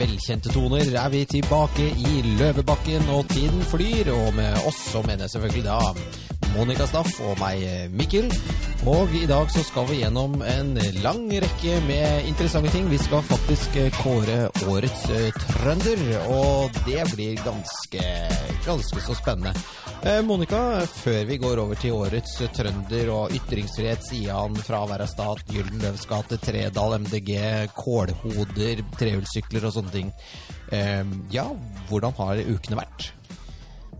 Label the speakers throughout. Speaker 1: velkjente toner er vi tilbake i Løvebakken, og tiden flyr. Og med oss så mener jeg selvfølgelig da Monica Staff og meg, eh, Mikkel. Og i dag så skal vi gjennom en lang rekke med interessante ting. Vi skal faktisk eh, kåre årets eh, trønder, og det blir ganske, ganske så spennende. Eh, Monica, før vi går over til årets eh, trønder og ytringsfrihet, Sian, Fravær av stat, Gyldenløvs gate, Tredal, MDG, kålhoder, trehjulssykler og sånne ting. Eh, ja, hvordan har ukene vært?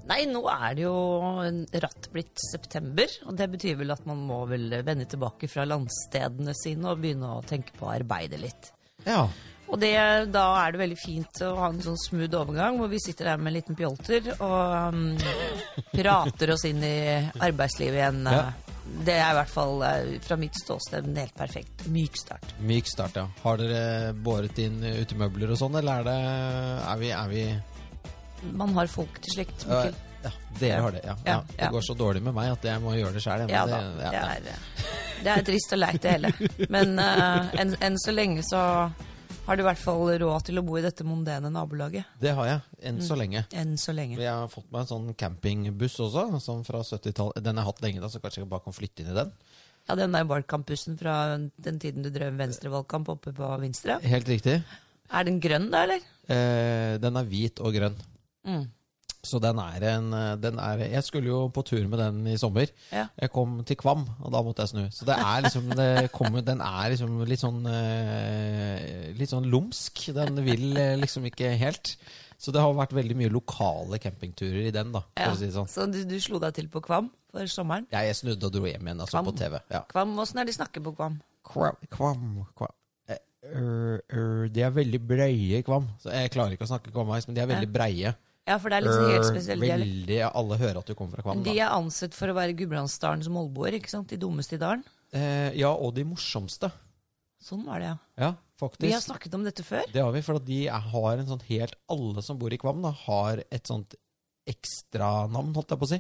Speaker 2: Nei, nå er det jo ratt blitt september, og det betyr vel at man må vel vende tilbake fra landstedene sine og begynne å tenke på å arbeide litt.
Speaker 1: Ja.
Speaker 2: Og det, da er det veldig fint å ha en sånn smooth overgang, hvor vi sitter der med en liten pjolter og um, prater oss inn i arbeidslivet igjen.
Speaker 1: Ja.
Speaker 2: Det er i hvert fall eh, fra mitt ståsted en helt perfekt myk start.
Speaker 1: Myk start, ja. Har dere båret inn utemøbler og sånn, eller er det Er vi, er vi
Speaker 2: Man har folk til slikt. Mikkel.
Speaker 1: Ja, dere har det, ja. ja.
Speaker 2: Ja,
Speaker 1: Det
Speaker 2: ja.
Speaker 1: går så dårlig med meg at jeg må gjøre det sjæl.
Speaker 2: Ja da. Det er, det er trist og leit, det hele. Men eh, enn enn så lenge så har du i hvert fall råd til å bo i dette mondene nabolaget.
Speaker 1: det har jeg, enn
Speaker 2: Mm.
Speaker 1: så lenge.
Speaker 2: Enn så lenge.
Speaker 1: Jeg har fått meg en sånn campingbuss også, sånn fra 70-tallet. Den har jeg hatt lenge, da, så kanskje jeg bare kan flytte inn i den.
Speaker 2: Ja, den der valgkampbussen fra den tiden du drev venstrevalgkamp oppe på Vinstra.
Speaker 1: Helt riktig.
Speaker 2: Er den grønn da, eller?
Speaker 1: Eh, den er hvit og grønn.
Speaker 2: Mm.
Speaker 1: Så den er en eh, den er, Jeg skulle jo på tur med den i sommer.
Speaker 2: Ja.
Speaker 1: Jeg kom til Kvam, og da måtte jeg snu. Så det er liksom det kommer, Den er liksom litt sånn eh, Litt sånn lumsk. Den vil eh, liksom ikke helt. Så det har vært veldig mye lokale campingturer i den, da. For
Speaker 2: Ja.
Speaker 1: å si det sånn.
Speaker 2: Så du, du slo deg til på Kvam for sommeren?
Speaker 1: Ja, jeg snudde og dro hjem igjen, altså,
Speaker 2: Kvam.
Speaker 1: på TV. Ja.
Speaker 2: Kvam, Åssen er det de snakker på Kvam?
Speaker 1: Kvam, kvam, kvam. Eh, ør, ør, de er veldig breie, Kvam. Så jeg klarer ikke å snakke kvammais, men de er veldig breie.
Speaker 2: Ja, for det er liksom helt
Speaker 1: Ør,
Speaker 2: spesiell dialekt.
Speaker 1: Øh, veldig, alle hører at du kommer fra Kvam.
Speaker 2: De
Speaker 1: Da.
Speaker 2: er ansett for å være Gudbrandsdalens molboer, ikke sant? De dummeste i dalen.
Speaker 1: Eh, ja, og de morsomste.
Speaker 2: Sånn var det, ja.
Speaker 1: Ja, faktisk.
Speaker 2: Vi har snakket om dette før.
Speaker 1: Det har vi, for at de er, har en sånn helt Alle som bor i Kvam, da, har et sånt ekstranavn, holdt jeg på å si.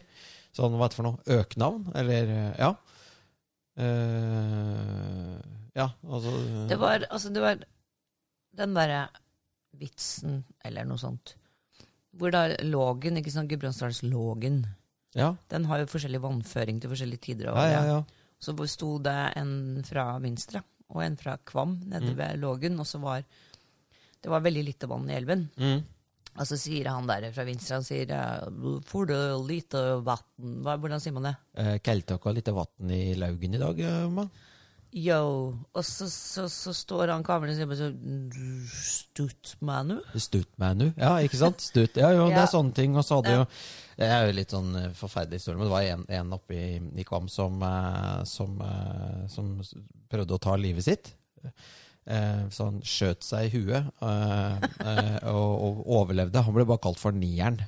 Speaker 1: Sånn, hva er det for noe? Øknavn? Eller eh, Ja. Eh, ja, altså
Speaker 2: Det var, altså, det var den derre vitsen, eller noe sånt, hvor da Lågen, ikke sant, Gudbrandsdalens Lågen,
Speaker 1: ja,
Speaker 2: den har jo forskjellig vannføring til forskjellige tider av
Speaker 1: ja, ja,
Speaker 2: året.
Speaker 1: ja.
Speaker 2: Så hvor sto det en fra Vinstra og en fra Kvam
Speaker 1: Mm.
Speaker 2: nede ved Lågen, og så var det var veldig lite vann i elven.
Speaker 1: Mm.
Speaker 2: Og så sier han der fra Vinstra, han sier eh, For det lite vann Hva- Hvordan sier man det?
Speaker 1: Eh, Keltak har litt vann i laugen i dag, eh, mann.
Speaker 2: Yo. Og så, så, så står han kavlen og sier bare så Stutt meg nå.
Speaker 1: Stut meg nå. Ja, ikke sant? Stut. Ja, jo, det
Speaker 2: Ja.
Speaker 1: er sånne ting. Og så hadde jo Det er jo litt sånn eh, forferdelig historie, men det var en, en oppe i, i Kvam som, eh, som, eh, som s- prøvde å ta livet sitt. Eh, Så han skjøt seg i huet eh, eh, og, og overlevde. Han ble bare kalt for nieren.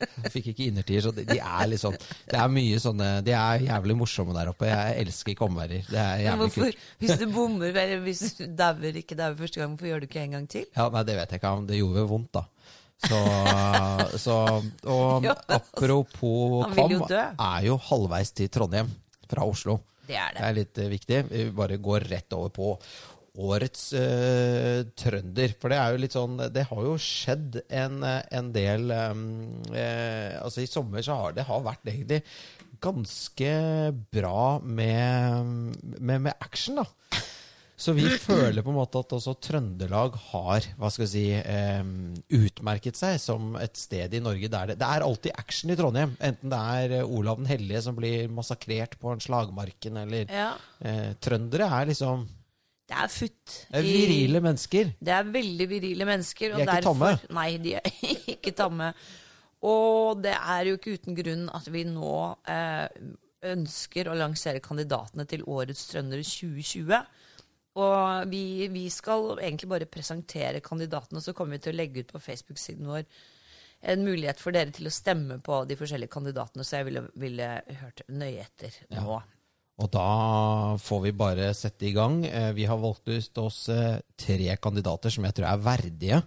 Speaker 1: Han Fikk ikke innertier, så de, de er litt sånn Det er mye sånne De er jævlig morsomme der oppe. Jeg elsker Kvamværer. Det er
Speaker 2: Men
Speaker 1: jævlig kult.
Speaker 2: hvorfor, hvis du bommer, eller hvis du dauer ikke dauer første gang, hvorfor gjør du ikke en gang til?
Speaker 1: Ja, nei, det vet jeg ikke, men det gjorde jo vondt, da. Så, så Og
Speaker 2: Ja, men altså,
Speaker 1: apropos
Speaker 2: han vil
Speaker 1: Kvam,
Speaker 2: jo dø.
Speaker 1: er jo halvveis til Trondheim fra Oslo.
Speaker 2: Det er
Speaker 1: Det er litt eh, viktig. Vi bare går rett over på årets eh, trønder. For det er jo litt sånn Det har jo skjedd en, eh, en del eh, eh, Altså, i sommer så har det har vært egentlig ganske bra med, med, med action, da. Så vi føler på en måte at også Trøndelag har hva skal vi si, eh, utmerket seg som et sted i Norge der det, det er alltid action i Trondheim. Enten det er eh, Olav den hellige som blir massakrert på en slagmarken, eller
Speaker 2: Ja.
Speaker 1: eh, Trøndere er liksom
Speaker 2: Det er futt.
Speaker 1: det er
Speaker 2: i-
Speaker 1: virile mennesker.
Speaker 2: Det er veldig virile mennesker.
Speaker 1: De er ikke
Speaker 2: derfor- Nei, de er ikke tamme. Og det er jo ikke uten grunn at vi nå eh, ønsker å lansere kandidatene til Årets trøndere 2020. Og vi, vi skal egentlig bare presentere kandidatene, og så kommer vi til å legge ut på Facebook-siden vår en mulighet for dere til å stemme på de forskjellige kandidatene, så jeg ville, ville hørt nøye etter nå.
Speaker 1: Og da får vi bare sette i gang. Eh, Vi har valgt ut oss eh, tre kandidater som jeg tror er verdige,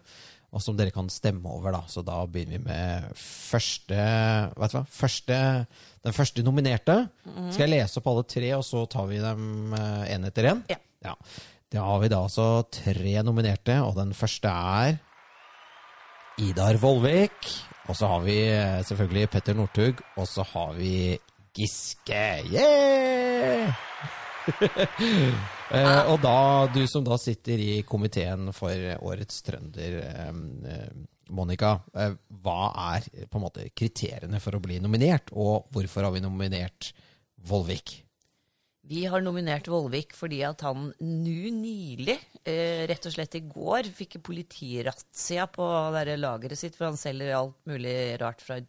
Speaker 1: og som dere kan stemme over. da. Så da begynner vi med første, vet du hva? første Den første nominerte. Skal jeg lese opp alle tre, og så tar vi dem eh, en etter en?
Speaker 2: Ja.
Speaker 1: ja. Det har vi da altså tre nominerte, og den første er Idar Vollvik. Og så har vi eh, selvfølgelig Petter Northug, og så har vi Giske. Yeah! Eh, og da, du som da sitter i komiteen for årets trønder, eh, eh, Monica, eh, hva er eh, på en måte kriteriene for å bli nominert, og hvorfor har vi nominert Volvik?
Speaker 2: Vi har nominert Vollvik fordi at han nu nylig, eh, rett og slett i går, fikk politirazzia på det der lageret sitt, for han selger alt mulig rart fra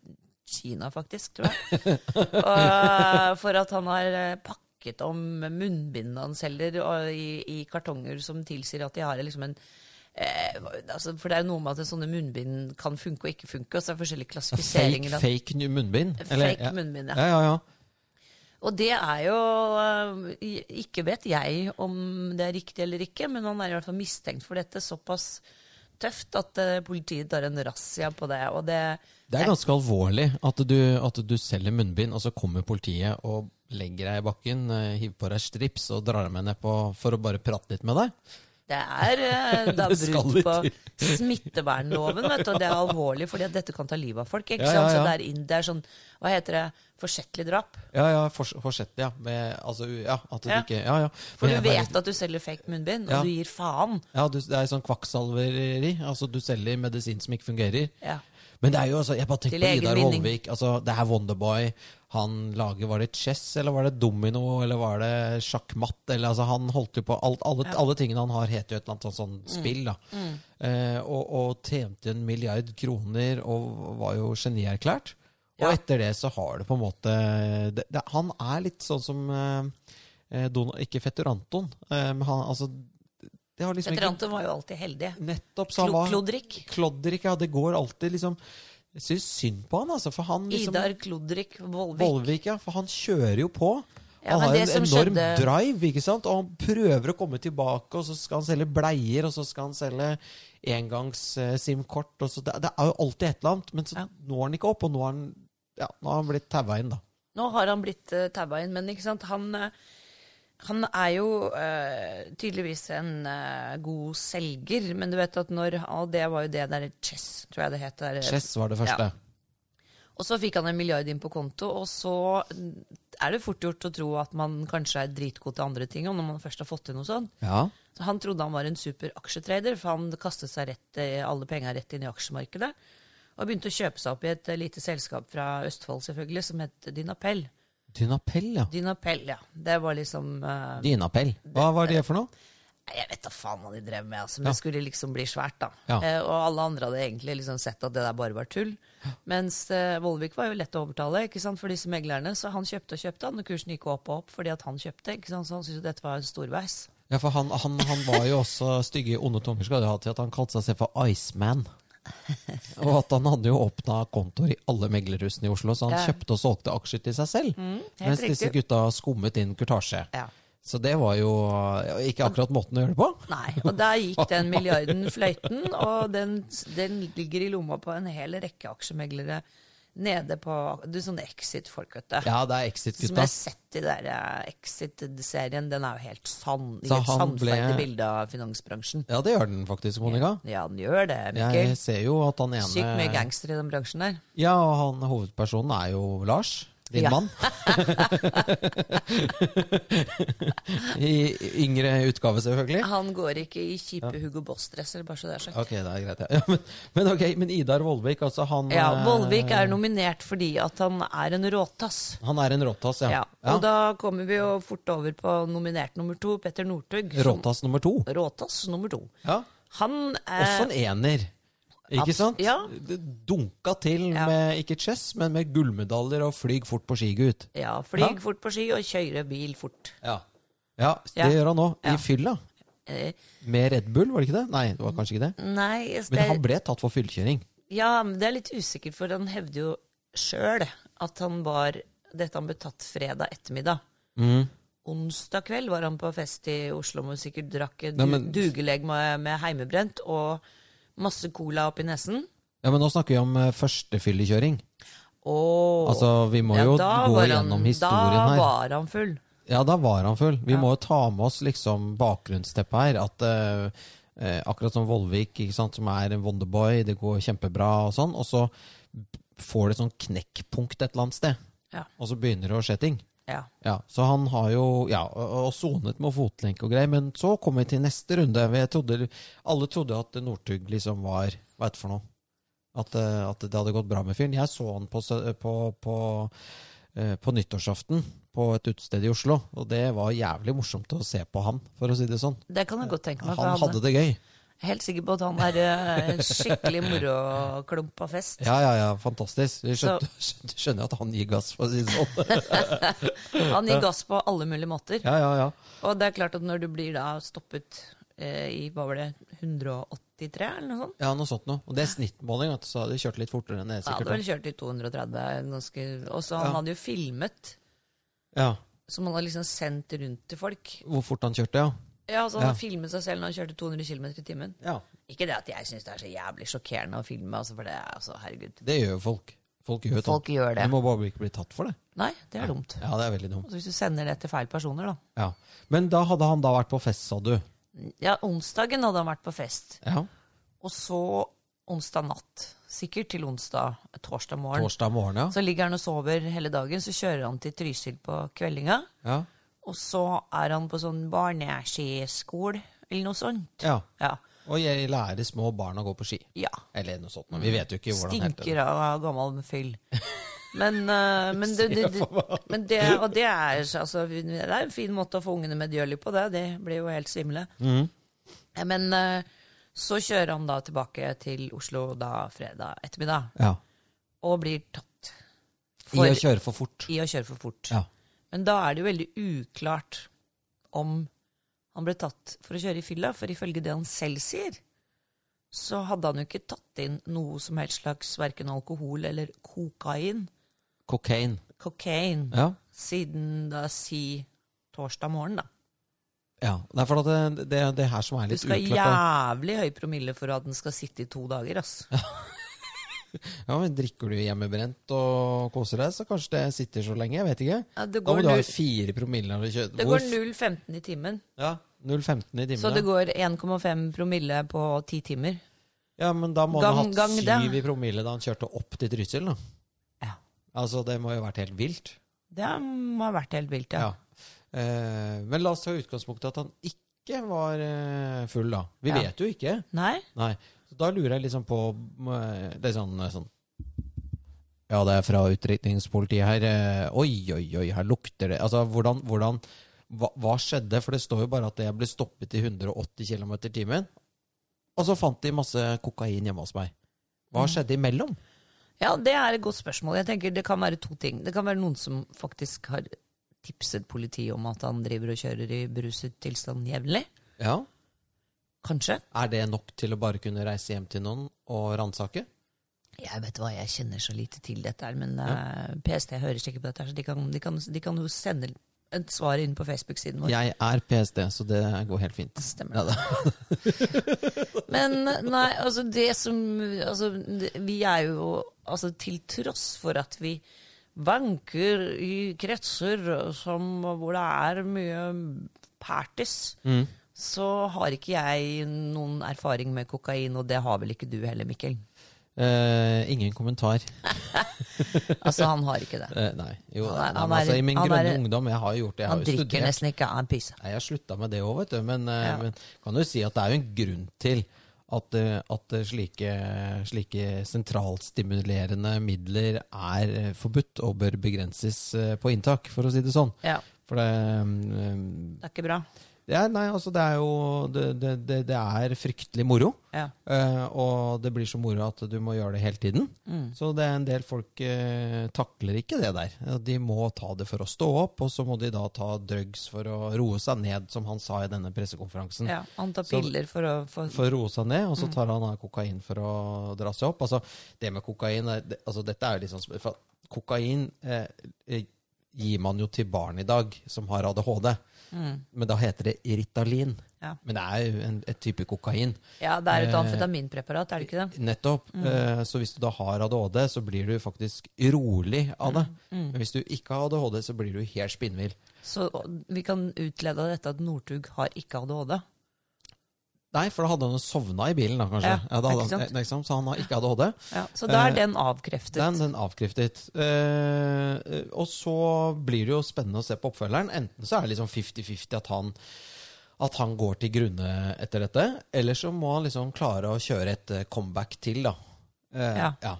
Speaker 2: Kina, faktisk, tror jeg. Og, for at han har eh, pakket om munnbindene han selger og, i, i kartonger som tilsier at de har liksom en eh, altså, For det er jo noe med at sånne munnbind kan funke og ikke funke, og så er det forskjellige
Speaker 1: Fake,
Speaker 2: klassifiseringer. av-
Speaker 1: fake nu- munnbind? eller?
Speaker 2: fake munnbind, ja.
Speaker 1: ja. ja, ja,
Speaker 2: Og det er jo øh, i- Ikke vet jeg om det er riktig eller ikke, men han er i hvert fall mistenkt for dette såpass tøft at øh, politiet tar en razzia på det. Og det,
Speaker 1: Det er ganske alvorlig at du, at du selger munnbind, og så kommer politiet og legger deg i bakken, eh, hiver på deg strips og drar deg med ned på, for å bare prate litt med deg.
Speaker 2: det er øh, da
Speaker 1: Det skal
Speaker 2: brudd
Speaker 1: litt
Speaker 2: på
Speaker 1: til.
Speaker 2: smittevernloven, vet du, og det er alvorlig, fordi at dette kan ta livet av folk. ikke
Speaker 1: Ja,
Speaker 2: sant?
Speaker 1: ja,
Speaker 2: Så
Speaker 1: ja.
Speaker 2: det er, inn, det er sånn Hva heter det? Forsettlig drap?
Speaker 1: Ja, ja, fors- forsett, ja. Med, altså, ja, at du
Speaker 2: Ja.
Speaker 1: ikke Ja, ja.
Speaker 2: For
Speaker 1: Men
Speaker 2: du
Speaker 1: jeg bare-
Speaker 2: vet at du selger fake munnbind, og
Speaker 1: Ja.
Speaker 2: du gir faen.
Speaker 1: Ja, du, det er sånn kvakksalveri. Altså, du selger medisin som ikke fungerer.
Speaker 2: Ja.
Speaker 1: Men det er jo altså, jeg bare tenker
Speaker 2: Til
Speaker 1: på
Speaker 2: egen
Speaker 1: Idar
Speaker 2: vinning.
Speaker 1: Vollvik. Altså, det er Wonderboy. Han lager Var det chess, eller var det domino, eller var det sjakkmatt? Eller, altså, han holdt jo på alt, alle, alle tingene han har, heter jo et eller annet sånt,
Speaker 2: Mm.
Speaker 1: sånn spill. Da. Eh, og, og tjente en milliard kroner og var jo genierklært. Og
Speaker 2: Ja.
Speaker 1: etter det så har det på en måte det, det, Han er litt sånn som eh, eh, Donald, Ikke fetter Anton, eh, men han altså det har liksom
Speaker 2: Petter
Speaker 1: ikke
Speaker 2: Anton var jo alltid heldig.
Speaker 1: Nettopp, så han
Speaker 2: Klo
Speaker 1: var
Speaker 2: Klodrik.
Speaker 1: Klodrik, ja. Det går alltid liksom Jeg syns synd på han, altså. For han liksom
Speaker 2: Idar Klodrik Vollvik.
Speaker 1: Vollvik, ja. For han kjører jo på.
Speaker 2: Ja,
Speaker 1: han
Speaker 2: men
Speaker 1: har
Speaker 2: det
Speaker 1: en
Speaker 2: som
Speaker 1: enorm
Speaker 2: skjedde-
Speaker 1: drive, ikke sant? Og han prøver å komme tilbake, og så skal han selge bleier, og så skal han selge engangs-SIM-kort, og så det, det er jo alltid et eller annet. Men så
Speaker 2: Ja.
Speaker 1: når han ikke opp, og nå har han, ja, nå har han blitt taua inn, da.
Speaker 2: Nå har han blitt uh, taua inn, men ikke sant? Han, eh, han er jo eh, tydeligvis en eh, god selger, men du vet at når Og det var jo det der chess, tror jeg det het. der.
Speaker 1: Chess var det første.
Speaker 2: Eh, Ja. Og så fikk han en milliard inn på konto, og så mm, er det fort gjort å tro at man kanskje er dritgod til andre ting, og når man først har fått til noe sånt.
Speaker 1: Ja.
Speaker 2: Så han trodde han var en super aksjetrader, for han kastet seg rett, eh, alle penga rett inn i aksjemarkedet. Og begynte å kjøpe seg opp i et eh, lite selskap fra Østfold, selvfølgelig, som het Dynapell.
Speaker 1: Dynapell, ja.
Speaker 2: Dynapell, ja. Det var liksom eh,
Speaker 1: Dynapell. Hva var det for noe?
Speaker 2: Nei, Jeg vet da faen hva de drev med, altså, men det skulle liksom bli svært. da.
Speaker 1: Ja.
Speaker 2: Eh, og alle andre hadde egentlig liksom sett at det der bare var tull. Mens eh, Vollvik var jo lett å overtale ikke sant, for disse meglerne, så han kjøpte og kjøpte, han, og kursen gikk opp og opp fordi at han kjøpte. ikke sant, Så han syntes jo dette var en storveis.
Speaker 1: Ja, for han, han, han var jo også stygge, onde tunger skal jo ha til at han kalte seg selv for Iceman. Og at han hadde jo åpna kontoer i alle meglerhusene i Oslo, så han
Speaker 2: Ja. Mm,
Speaker 1: kjøpte og solgte aksjer til seg selv. mens disse
Speaker 2: riktig.
Speaker 1: gutta skummet inn kurtasje.
Speaker 2: Ja.
Speaker 1: Så det var jo ja, ikke akkurat måten å gjøre det på.
Speaker 2: Nei, og der gikk den milliarden fløyten, og den, den ligger i lomma på en hel rekke aksjemeglere nede på du, sånne Exit-folk, vet du.
Speaker 1: Ja, det er
Speaker 2: Som jeg
Speaker 1: Exit-gutta.
Speaker 2: har sett i der eh, Exit-serien, den er jo helt sann. I
Speaker 1: Så
Speaker 2: et
Speaker 1: han ble-
Speaker 2: sannferdig bilde av finansbransjen.
Speaker 1: Ja, det gjør den faktisk, Monica.
Speaker 2: Ja, den gjør det,
Speaker 1: Jeg
Speaker 2: Mikkel.
Speaker 1: ser jo at han ene
Speaker 2: Sykt mye gangstere i den bransjen der.
Speaker 1: Ja, og han hovedpersonen er jo Lars. Din
Speaker 2: Ja.
Speaker 1: mann. I yngre utgave, selvfølgelig.
Speaker 2: Han går ikke i kjipe Hugo Boss-dresser, bare så det er sagt.
Speaker 1: Ok, det er greit. Ja. Ja, men, men ok, men Idar Vollvik, altså han
Speaker 2: Ja,
Speaker 1: eh,
Speaker 2: Vollvik er nominert fordi at han er en råtass.
Speaker 1: Han er en råtass, ja.
Speaker 2: Ja,
Speaker 1: Ja,
Speaker 2: og da kommer vi jo fort over på nominert nummer to, Petter Northug. som-
Speaker 1: Råtass nummer to.
Speaker 2: Råtass nummer to.
Speaker 1: Ja.
Speaker 2: Han eh,
Speaker 1: Også
Speaker 2: er
Speaker 1: en ener. Ikke
Speaker 2: Eh, abs-
Speaker 1: sant?
Speaker 2: ja.
Speaker 1: Det Dunka til
Speaker 2: Ja.
Speaker 1: med ikke chess, men med gullmedaljer og flyg fort på ski, gutt.
Speaker 2: ja,
Speaker 1: Ja.
Speaker 2: flyg fort på ski og kjøre bil fort.
Speaker 1: Ja. ja, det
Speaker 2: Ja.
Speaker 1: gjør han nå.
Speaker 2: Ja.
Speaker 1: I fylla.
Speaker 2: Eh,
Speaker 1: Med Red Bull, var det ikke det? Nei, det var kanskje ikke det.
Speaker 2: nei, det,
Speaker 1: Men han ble tatt for fyllekjøring.
Speaker 2: Ja, men det er litt usikkert, for han hevder jo sjøl at han var Dette han ble tatt fredag ettermiddag.
Speaker 1: Mm.
Speaker 2: Onsdag kveld var han på fest i Oslo og sikkert drakk du,
Speaker 1: Nei, men-
Speaker 2: dugelegg med, med heimebrent og masse cola oppi nesen.
Speaker 1: Ja, men nå snakker vi om eh, første fyllekjøring.
Speaker 2: Og
Speaker 1: Altså, vi må jo
Speaker 2: da
Speaker 1: gå
Speaker 2: var
Speaker 1: gjennom historien
Speaker 2: Da
Speaker 1: her.
Speaker 2: var han full.
Speaker 1: Ja, da var han full. Vi
Speaker 2: Ja.
Speaker 1: må jo ta med oss liksom bakgrunnsteppet her. At eh, eh, akkurat som Vollvik, ikke sant, som er en wonderboy, det går kjempebra og sånn, og så får det et sånn knekkpunkt et eller annet sted.
Speaker 2: Ja.
Speaker 1: Og så begynner det å skje ting.
Speaker 2: Ja.
Speaker 1: Ja, så han har jo ja, og og sonet med fotlenke og greier, men så kom vi til neste runde. hvor Jeg trodde, alle trodde at Northug liksom var Hva heter det for noe? At, eh, at det hadde gått bra med fyren. Jeg så han på, sø- på, på, eh, på nyttårsaften på et utested i Oslo, og det var jævlig morsomt å se på han, for å si det sånn.
Speaker 2: Det kan jeg godt tenke meg. for
Speaker 1: Han hadde det gøy.
Speaker 2: Jeg er helt sikker på at han er eh, en skikkelig moroklump av fest.
Speaker 1: Ja, ja, ja, fantastisk. Jeg
Speaker 2: Så-
Speaker 1: skjønte, skjønte, skjønner at han gir gass, for å si det sånn.
Speaker 2: Han gir gass på alle mulige måter.
Speaker 1: Ja, ja, ja.
Speaker 2: Og det er klart at når du blir da stoppet eh, i hva var det, 183 eller noe sånt?
Speaker 1: Ja, noe sånt noe. Og det er snittmåling, vet du, så hadde de kjørt litt fortere enn det,
Speaker 2: Han hadde
Speaker 1: sikkert.
Speaker 2: vel kjørt i 230 ganske Og så han
Speaker 1: Ja.
Speaker 2: hadde jo filmet,
Speaker 1: Ja,
Speaker 2: som han hadde liksom sendt rundt til folk.
Speaker 1: hvor fort han kjørte, ja.
Speaker 2: Ja, altså Han
Speaker 1: Ja.
Speaker 2: filmet seg selv når han kjørte 200 km i timen.
Speaker 1: Ja,
Speaker 2: Ikke det at jeg syns det er så jævlig sjokkerende å filme, altså, for det er altså Herregud.
Speaker 1: det gjør jo folk. Folk gjør jo
Speaker 2: Folk gjør det.
Speaker 1: Du må bare ikke bli tatt for det.
Speaker 2: Nei, det er dumt.
Speaker 1: Ja, det er veldig dumt.
Speaker 2: Altså, hvis du sender det til feil personer, da.
Speaker 1: Ja. Men da hadde han da vært på fest, sa du.
Speaker 2: Ja, onsdagen hadde han vært på fest.
Speaker 1: Ja.
Speaker 2: Og så onsdag natt, sikkert til onsdag, torsdag morgen,
Speaker 1: Torsdag morgen, ja.
Speaker 2: så ligger han og sover hele dagen. Så kjører han til Trysil på kveldinga.
Speaker 1: Ja.
Speaker 2: Og så er han på sånn barneskiskole eller noe sånt.
Speaker 1: ja.
Speaker 2: Ja.
Speaker 1: Og jeg lærer små barn å gå på ski.
Speaker 2: ja.
Speaker 1: Eller noe sånt. Men vi vet jo ikke hvordan helt det
Speaker 2: Stinker av gammel fyll. Men, eh, men, det, det, det, men det, og det er, altså, det er en fin måte å få ungene medgjørlig på, det. De blir jo helt svimle.
Speaker 1: Mhm.
Speaker 2: Eh, Men eh, så kjører han da tilbake til Oslo da fredag ettermiddag,
Speaker 1: Ja.
Speaker 2: og blir tatt
Speaker 1: I
Speaker 2: for,
Speaker 1: å kjøre for fort.
Speaker 2: i å kjøre for fort.
Speaker 1: Ja.
Speaker 2: Men da er det jo veldig uklart om han ble tatt for å kjøre i fylla, for ifølge det han selv sier, så hadde han jo ikke tatt inn noe som helst slags verken alkohol eller kokain,
Speaker 1: Cocaine.
Speaker 2: kokain,
Speaker 1: Ja.
Speaker 2: siden da si torsdag morgen, da.
Speaker 1: ja. Det er fordi at det, det, det her som er
Speaker 2: Du
Speaker 1: litt
Speaker 2: skal
Speaker 1: uklart. da.
Speaker 2: jævlig høy promille for at den skal sitte i to dager, ass.
Speaker 1: Ja, men Drikker du hjemmebrent og koser deg, så kanskje det sitter så lenge. Jeg vet ikke.
Speaker 2: Ja, det
Speaker 1: Da må
Speaker 2: går,
Speaker 1: du ha
Speaker 2: null-
Speaker 1: fire promille når du kjører.
Speaker 2: det går 0,15 i timen,
Speaker 1: Ja, 0,15 i timen.
Speaker 2: så
Speaker 1: ja.
Speaker 2: det går 1,5 promille på ti timer.
Speaker 1: Ja, men da må han ha
Speaker 2: Gang-
Speaker 1: hatt
Speaker 2: gang det.
Speaker 1: syv i promille da han kjørte opp til Trysil, da.
Speaker 2: Ja.
Speaker 1: Altså, det må jo ha vært helt vilt.
Speaker 2: Det må ha vært helt vilt, ja.
Speaker 1: Ja. Eh, men la oss ta utgangspunktet at han ikke var eh, full, da. Vi
Speaker 2: Ja.
Speaker 1: vet jo ikke.
Speaker 2: Nei?
Speaker 1: Nei. Så da lurer jeg liksom på eh, Det er sånn, sånn Ja, det er fra utrykningspolitiet her. eh, Oi, oi, oi, her lukter det Altså, hvordan, hvordan hva, hva skjedde? For det står jo bare at jeg ble stoppet i 180 km i timen. Og så fant de masse kokain hjemme hos meg. Hva skjedde imellom?
Speaker 2: Ja, det er et godt spørsmål. Jeg tenker Det kan være to ting. Det kan være noen som faktisk har tipset politiet om at han driver og kjører i beruset tilstand jevnlig.
Speaker 1: Ja.
Speaker 2: Kanskje.
Speaker 1: Er det nok til å bare kunne reise hjem til noen og ransake?
Speaker 2: Jeg vet hva, jeg kjenner så lite til dette her, men eh, PST hører sikkert på dette her, så de kan, de, kan, de kan jo sende et svar inn på Facebook-siden vår.
Speaker 1: Jeg er PST, så det går helt fint.
Speaker 2: Stemmer det. Men nei, altså det som altså, det, Vi er jo altså, Til tross for at vi vanker i kretser som, hvor det er mye parties,
Speaker 1: Mm.
Speaker 2: så har ikke jeg noen erfaring med kokain, og det har vel ikke du heller, Mikkel?
Speaker 1: Eh, ingen kommentar.
Speaker 2: Altså, han har ikke det.
Speaker 1: Eh, nei. Jo,
Speaker 2: Han er-
Speaker 1: nei,
Speaker 2: han
Speaker 1: men altså,
Speaker 2: er-
Speaker 1: I min
Speaker 2: han
Speaker 1: grønne
Speaker 2: er-
Speaker 1: ungdom, jeg har jo gjort det. Jeg
Speaker 2: Han
Speaker 1: har jo
Speaker 2: drikker
Speaker 1: studert.
Speaker 2: nesten ikke, han pyser.
Speaker 1: Nei, jeg slutta med det òg, vet du. Men, eh,
Speaker 2: Ja.
Speaker 1: men kan jo si at det er jo en grunn til at, eh, at slike, slike sentralstimulerende midler er eh, forbudt og bør begrenses eh, på inntak, for å si det sånn.
Speaker 2: Ja,
Speaker 1: For det mm,
Speaker 2: det er ikke bra.
Speaker 1: Det er, nei, altså det er jo Det, det, det, det er fryktelig moro.
Speaker 2: Ja.
Speaker 1: eh, og det blir så moro at du må gjøre det hele tiden.
Speaker 2: Mm.
Speaker 1: Så det er en del folk eh, takler ikke det der. Eh, De må ta det for å stå opp, og så må de da ta drugs for å roe seg ned, som han sa i denne pressekonferansen.
Speaker 2: ja. Mm. Han tar
Speaker 1: Mm. Så-
Speaker 2: piller for å få
Speaker 1: For å roe seg ned, og så tar han av kokain for å dra seg opp. Altså, det med kokain er, det, altså, Dette er jo liksom som- for Kokain eh, eh, gir man jo til barn i dag som har ADHD.
Speaker 2: Mm.
Speaker 1: Men da heter det Ritalin.
Speaker 2: Ja.
Speaker 1: Men det er jo en, et type kokain.
Speaker 2: Ja, det
Speaker 1: Eh.
Speaker 2: er et amfetaminpreparat, er det ikke det?
Speaker 1: Nettopp.
Speaker 2: Mm.
Speaker 1: Eh, Så hvis du da har ADHD, så blir du faktisk rolig av det.
Speaker 2: Mm.
Speaker 1: Men hvis du ikke har ADHD, så blir du helt spinnvill.
Speaker 2: Så vi kan utlede av dette at Northug har ikke ADHD.
Speaker 1: Nei, for da hadde han jo sovna i bilen, da, kanskje.
Speaker 2: Ja,
Speaker 1: da hadde
Speaker 2: ikke
Speaker 1: han-
Speaker 2: sant?
Speaker 1: eh, ikke sant? Så han har ikke ADHD.
Speaker 2: Ja, så da
Speaker 1: Eh,
Speaker 2: er den avkreftet.
Speaker 1: Den, den avkreftet. Eh, eh, og så blir det jo spennende å se på oppfølgeren. Enten så er det liksom 50-50 at han at han går til grunne etter dette, eller så må han liksom klare å kjøre et eh, comeback til, da. Eh,
Speaker 2: Ja.
Speaker 1: ja.